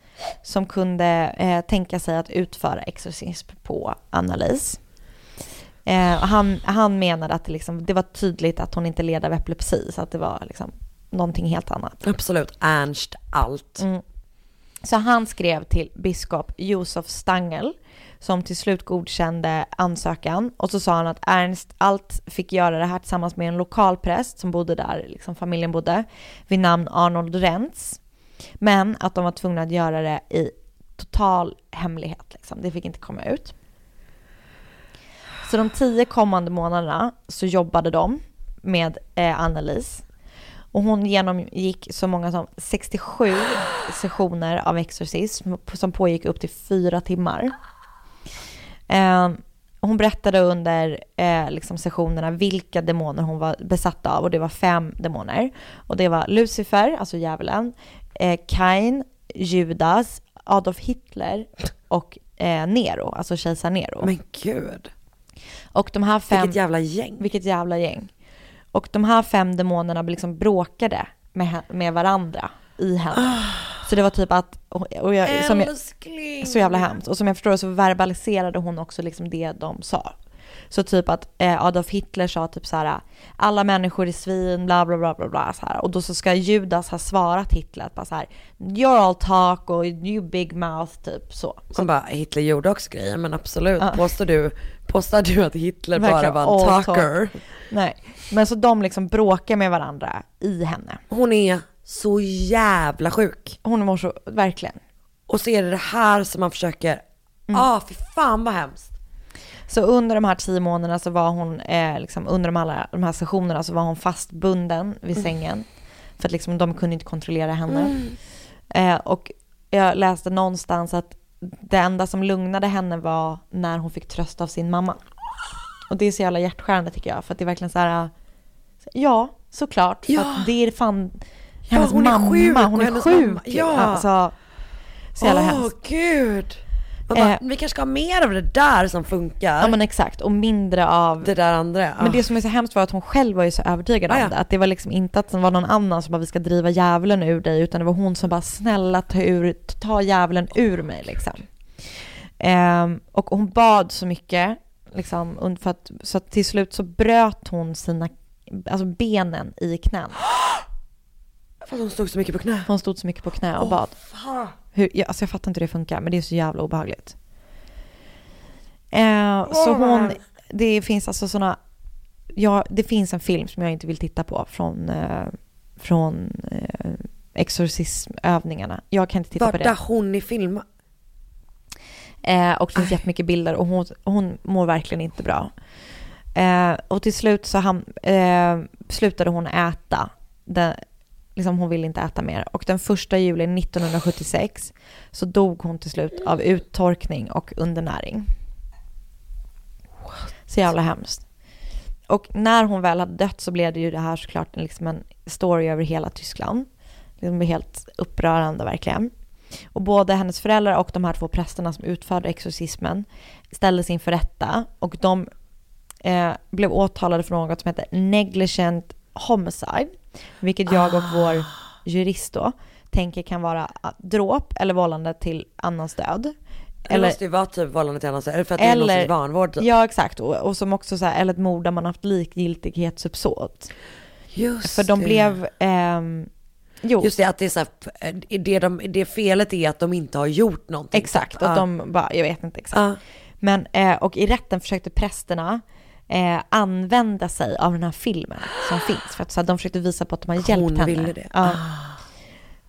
Speaker 2: som kunde eh, tänka sig att utföra exorcism på Annalise. Eh, och han, han menade att det, liksom, det var tydligt att hon inte led av epilepsi, så att det var liksom någonting helt annat.
Speaker 1: Absolut, Ernst allt.
Speaker 2: Så han skrev till biskop Josef Stangel som till slut godkände ansökan och så sa han att Ernst Alt fick göra det här tillsammans med en lokal präst som bodde där, liksom familjen bodde, vid namn Arnold Rentz. Men att de var tvungna att göra det i total hemlighet, liksom. det fick inte komma ut. Så de tio kommande månaderna så jobbade de med eh, Annelies och hon genomgick så många som 67 sessioner av exorcism som pågick upp till fyra timmar. Eh, hon berättade under eh, liksom sessionerna vilka demoner hon var besatt av och det var fem demoner. Och det var Lucifer, alltså djävulen, eh, Kain, Judas, Adolf Hitler och eh, Nero, alltså kejsar Nero.
Speaker 1: Men gud,
Speaker 2: och de här fem...
Speaker 1: vilket jävla gäng.
Speaker 2: Vilket jävla gäng. Och de här fem demonerna liksom bråkade med, he- med varandra i henne. Så det var typ att, och jag, som jag,
Speaker 1: Älskling.
Speaker 2: så jävla hemskt. Och som jag förstår det så verbaliserade hon också liksom det de sa. Så typ att eh, Adolf Hitler sa typ så här, alla människor är svin, bla bla bla bla bla så här. Och då så ska Judas ha svarat Hitler att bara så här, you're all talk och you big mouth typ så.
Speaker 1: Som bara, Hitler gjorde också grejer, men absolut. Påstår, du, påstår du att Hitler bara
Speaker 2: Verkligen
Speaker 1: var
Speaker 2: all
Speaker 1: en
Speaker 2: talk.
Speaker 1: talker?
Speaker 2: Nej, men så de liksom bråkar med varandra i henne.
Speaker 1: Hon är så jävla sjuk.
Speaker 2: Hon mår så, verkligen.
Speaker 1: Och så är det det här som man försöker, ah fy fan vad hemskt.
Speaker 2: Så under de här tio månaderna så var hon, eh, liksom, under de, alla, de här sessionerna så var hon fastbunden vid
Speaker 1: Mm.
Speaker 2: sängen. För att liksom, de kunde inte kontrollera henne. Eh, och jag läste någonstans att det enda som lugnade henne var när hon fick tröst av sin mamma. Och det är så jävla hjärtskärande tycker jag. För att det är verkligen så här, eh, ja såklart. För
Speaker 1: Ja.
Speaker 2: att det är fan hennes
Speaker 1: hon är
Speaker 2: mamma.
Speaker 1: sjuk och
Speaker 2: hon är
Speaker 1: hennes
Speaker 2: sjuk.
Speaker 1: mamma. Ja.
Speaker 2: Alltså, så jävla
Speaker 1: Åh,
Speaker 2: hemskt.
Speaker 1: gud. Man bara,
Speaker 2: Eh.
Speaker 1: vi kanske ska ha mer av det där som funkar.
Speaker 2: Ja men exakt. Och mindre av
Speaker 1: det där andra.
Speaker 2: Men det som är så hemskt var att hon själv var ju så övertygad om
Speaker 1: Ah, ja.
Speaker 2: det. Att det var liksom inte att det var någon annan som bara vi ska driva djävulen ur dig utan det var hon som bara snälla ta, ur, ta djävulen ur mig liksom. Ehm, och hon bad så mycket liksom, und- för att, så att till slut så bröt hon sina alltså benen i knän.
Speaker 1: För att hon stod så mycket på knä.
Speaker 2: Hon stod så mycket på knä och bad.
Speaker 1: Fan.
Speaker 2: Hur, jag, alltså jag fattar inte hur det funkar, men det är så jävla obehagligt. Eh, så hon, det finns alltså såna, ja, det finns en film som jag inte vill titta på från, eh, från eh, exorcismövningarna. Jag kan inte titta på
Speaker 1: Vart där
Speaker 2: det.
Speaker 1: hon i film.
Speaker 2: Eh, och det finns jättemycket bilder och hon, hon mår verkligen inte bra. Eh, och till slut så ham, eh, slutade hon äta. Den, liksom hon ville inte äta mer. Och den första juli 1976 så dog hon till slut av uttorkning och undernäring. Så jävla hemskt. Och när hon väl hade dött så blev det ju det här såklart en- liksom en story över hela Tyskland. Liksom det är helt upprörande verkligen. Och både hennes föräldrar och de här två prästerna som utförde exorcismen ställdes inför rätta och de eh, blev åtalade för något som heter negligent homicide, vilket jag och
Speaker 1: Ah.
Speaker 2: vår jurist då tänker kan vara dråp eller vållande till annans död.
Speaker 1: Det måste ju vara typ vållande till annans eller för att det är någon sorts vanvård typ.
Speaker 2: Ja exakt, och, och som också så här, eller ett mord där man haft likgiltighetsuppsåt.
Speaker 1: Just
Speaker 2: För de
Speaker 1: det.
Speaker 2: blev, ehm, jo
Speaker 1: Just det, att det är så här, eh, det, de, det felet är att de inte har gjort någonting. Ah,
Speaker 2: exakt,
Speaker 1: Ja.
Speaker 2: att de bara, jag vet inte exakt.
Speaker 1: Ja.
Speaker 2: Men, eh, och i rätten försökte prästerna eh, använda sig av den här filmen som finns. För att så här, de försökte visa på att de har hjälpt henne.
Speaker 1: ville det. Ah.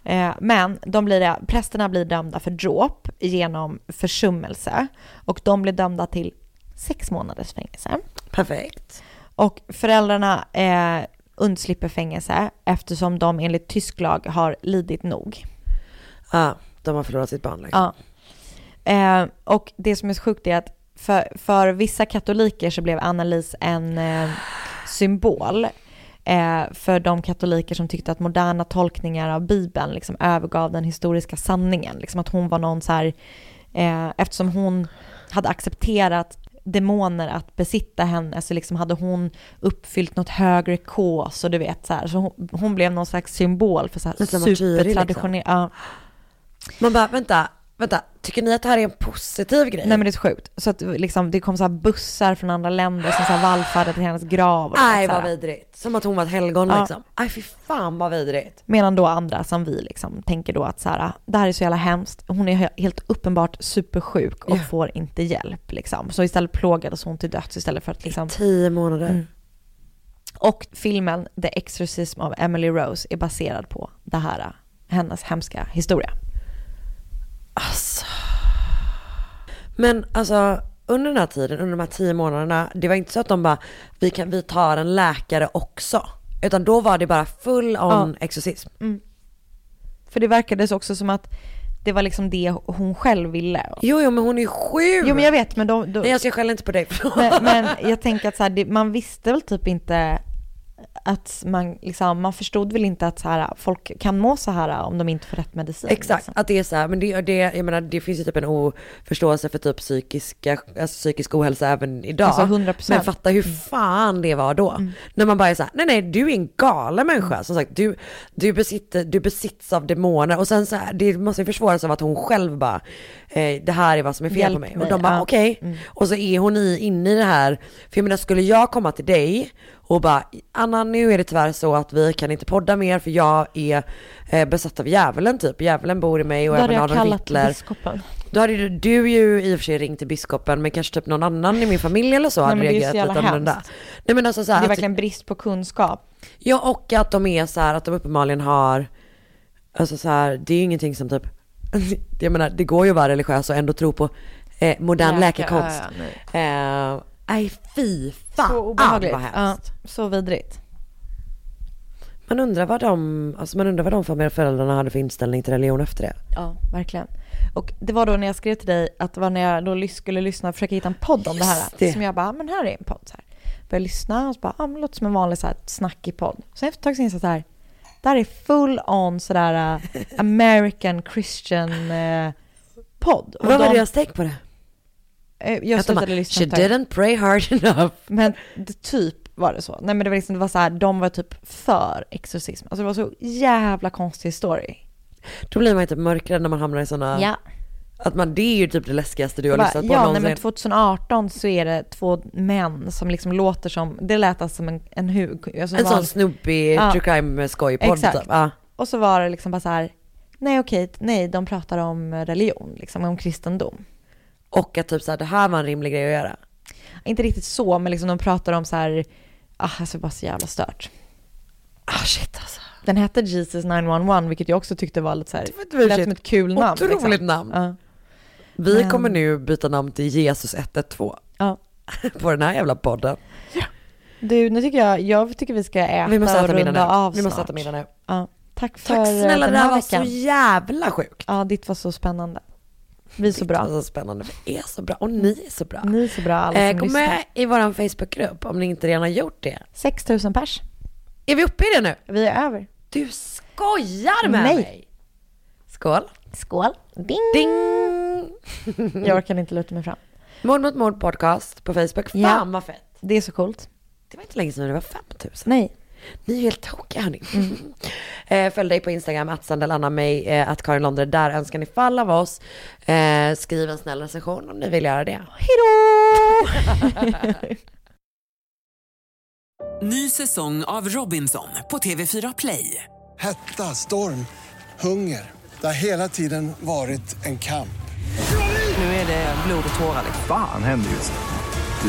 Speaker 2: Ja. Eh, men de blir, prästerna blir dömda för dråp genom försummelse. Och de blir dömda till sex månaders fängelse.
Speaker 1: Perfekt.
Speaker 2: Och föräldrarna eh, undslipper fängelse eftersom de enligt tysk lag har lidit nog.
Speaker 1: Ja, Ah, de har förlorat sitt barn. Liksom.
Speaker 2: Ja. Eh, och det som är så sjukt är att för, för vissa katoliker så blev Annalise en eh, symbol eh, för de katoliker som tyckte att moderna tolkningar av Bibeln liksom övergav den historiska sanningen. Liksom att hon var någon så här, eh, eftersom hon hade accepterat demoner att besitta henne så liksom hade hon uppfyllt något högre kås och du vet så här. Så hon, hon blev någon slags symbol för så här
Speaker 1: Lite martyr, liksom.
Speaker 2: supertraditionell. Ja.
Speaker 1: Man bara, vänta, vänta, tycker ni att det här är en positiv grej?
Speaker 2: Nej men det är så sjukt. Så att liksom, det kom så här bussar från andra länder som så här vallfärdade till hennes grav. Och
Speaker 1: Aj
Speaker 2: så här.
Speaker 1: vad vidrigt. Som att hon var ett helgon
Speaker 2: Ja.
Speaker 1: liksom. Aj fy fan vad vidrigt.
Speaker 2: Medan då andra som vi liksom tänker då att så här, det här är så jävla hemskt. Hon är he- helt uppenbart supersjuk och får inte hjälp liksom. Så istället plågades hon till döds istället för att liksom...
Speaker 1: Tio månader.
Speaker 2: Och filmen The Exorcism of Emily Rose är baserad på det här, äh, hennes hemska historia.
Speaker 1: Alltså. Men alltså under den här tiden, under de här tio månaderna, det var inte så att de bara, vi, kan, vi tar en läkare också. Utan då var det bara full on exorcism.
Speaker 2: För det verkades också som att det var liksom det hon själv ville.
Speaker 1: Jo, jo, men hon är ju sjuk.
Speaker 2: Jo men jag vet men de... de
Speaker 1: Nej, alltså, jag skäller inte på dig.
Speaker 2: men, men jag tänker att så här, det, man visste väl typ inte att man, liksom, man förstod väl inte att så här, folk kan må så här om de inte får rätt medicin.
Speaker 1: Exakt,
Speaker 2: Liksom.
Speaker 1: att det är så här, men det, det, jag menar, det finns ju typ en oförståelse för typ psykiska, alltså psykisk ohälsa även idag.
Speaker 2: Alltså, 100%. Mm.
Speaker 1: Men fatta hur fan det var då. När man bara är så här, nej nej du är en galen människa.
Speaker 2: Mm.
Speaker 1: Som sagt, du, du, besitter, du besitts av demoner. Och sen så här, det måste ju försvåras av att hon själv bara, eh, det här är vad som är fel
Speaker 2: Hjälp
Speaker 1: på mig.
Speaker 2: mig,
Speaker 1: Och de bara
Speaker 2: ja. Mm.
Speaker 1: okej. Och så är hon i, inne i det här, för jag menar skulle jag komma till dig och bara, Anna nu är det tyvärr så att vi kan inte podda mer för jag är eh, besatt av djävulen typ. Djävulen bor i mig och
Speaker 2: Då hade
Speaker 1: även
Speaker 2: jag
Speaker 1: Adolf
Speaker 2: kallat
Speaker 1: Hitler.
Speaker 2: biskopen.
Speaker 1: Då hade ju du ju i och för sig ringt till biskopen men kanske typ någon annan i min familj eller så hade
Speaker 2: men det är ju
Speaker 1: reagerat
Speaker 2: så
Speaker 1: lite
Speaker 2: jävla
Speaker 1: annorlunda.
Speaker 2: hemskt.
Speaker 1: Nej men alltså så
Speaker 2: Det
Speaker 1: här,
Speaker 2: är
Speaker 1: att-
Speaker 2: verkligen brist på kunskap.
Speaker 1: ja och att de är så här att de uppenbarligen har, alltså så här, det är ju ingenting som typ, jag menar det går ju att vara religiös och ändå tro på eh, modern
Speaker 2: Läkare,
Speaker 1: läkekonst.
Speaker 2: ja, ja,
Speaker 1: Eh, Nej fy fan
Speaker 2: Så obehagligt.
Speaker 1: vad
Speaker 2: ja,
Speaker 1: hemskt.
Speaker 2: så vidrigt.
Speaker 1: Man undrar vad de, alltså man undrar vad de för föräldrarna hade för inställning till religion efter det.
Speaker 2: Ja, verkligen. Och det var då när jag skrev till dig att det var när jag då lys- skulle lyssna och försöka hitta en podd om det här.
Speaker 1: Just det.
Speaker 2: Som jag bara, "Ah, men här är en podd. Så här. Började lyssna och så bara, ah, men låter som en vanlig så här, snackig podd. Sen efter ett tag så insåg jag så här, det här är full on sådär uh, American Christian eh, podd. Och
Speaker 1: Vad var
Speaker 2: de-
Speaker 1: deras take på det?
Speaker 2: eh, Jag
Speaker 1: Att de bara,
Speaker 2: slutade lyssna
Speaker 1: she
Speaker 2: ett tag.
Speaker 1: didn't pray hard enough.
Speaker 2: Men det, typ var det så. Nej men det var liksom, det var så här, de var typ för exorcism. Alltså det var så jävla konstig story.
Speaker 1: Då blir man ju typ mörkrädd när man hamnar i sådana, att man, det är ju typ det läskigaste du har
Speaker 2: Bara,
Speaker 1: lyssnat på
Speaker 2: ja, nej,
Speaker 1: någonsin.
Speaker 2: men 2018 så är det två män som liksom låter som, det lät alltså som en, en hug. Alltså
Speaker 1: En
Speaker 2: var-
Speaker 1: sån snubbig
Speaker 2: Ja.
Speaker 1: true crime skojpodd
Speaker 2: Exakt.
Speaker 1: typ. Ja.
Speaker 2: Och så var det liksom bara så här, nej okej, nej de pratar om religion, liksom om kristendom.
Speaker 1: Och att typ såhär, det här var en rimlig grej att göra.
Speaker 2: Inte riktigt så, men liksom de pratar om så här, ah, alltså bara så jävla stört.
Speaker 1: Ah shit alltså.
Speaker 2: Den hette Jesus 911, vilket jag också tyckte var lite så här,
Speaker 1: var inte
Speaker 2: det lät
Speaker 1: mysigt.
Speaker 2: som ett kul namn.
Speaker 1: Otroligt
Speaker 2: liksom.
Speaker 1: namn.
Speaker 2: Ja,
Speaker 1: Vi
Speaker 2: Men-
Speaker 1: kommer nu byta namn till Jesus 112
Speaker 2: ja.
Speaker 1: på den här jävla podden.
Speaker 2: Du, nu tycker jag, jag tycker vi ska äta
Speaker 1: Vi måste
Speaker 2: och
Speaker 1: äta middag
Speaker 2: runda av
Speaker 1: nu. Vi måste
Speaker 2: snart.
Speaker 1: äta middag nu.
Speaker 2: Ja. Tack för eh,
Speaker 1: Tack snälla,
Speaker 2: den
Speaker 1: det här
Speaker 2: här
Speaker 1: var
Speaker 2: veckan.
Speaker 1: så jävla sjukt.
Speaker 2: Ja, ditt var så spännande. Vi är så
Speaker 1: Det
Speaker 2: bra.
Speaker 1: var så spännande. Vi är så bra och ni är så bra.
Speaker 2: Ni är så bra alla
Speaker 1: Eh,
Speaker 2: som
Speaker 1: gå
Speaker 2: lyssnar.
Speaker 1: med i vår Facebookgrupp om ni inte redan har gjort det.
Speaker 2: 6 000 pers.
Speaker 1: Är vi uppe i det nu?
Speaker 2: Vi är över.
Speaker 1: Du skojar med
Speaker 2: Nej.
Speaker 1: mig! Skål!
Speaker 2: Skål. Ding.
Speaker 1: Ding!
Speaker 2: Jag orkar inte luta mig fram.
Speaker 1: Mord mot mord podcast på Facebook. Fan
Speaker 2: Ja.
Speaker 1: vad fett!
Speaker 2: Det är så coolt.
Speaker 1: Det var inte länge sedan det var 5000.
Speaker 2: Nej.
Speaker 1: Ni är helt tokiga hörni. Eh, följ dig på Instagram, att Sandelanna mig, eh, att Karin Londre. Där önskar ni fall av oss. Eh, skriv en snäll recension om ni vill göra det.
Speaker 2: Hejdå!
Speaker 6: Ny säsong av Robinson på TV4 Play.
Speaker 7: Hetta, storm, hunger. Det har hela tiden varit en kamp.
Speaker 6: Nu är det blod och tårar.
Speaker 8: Fan händer just det.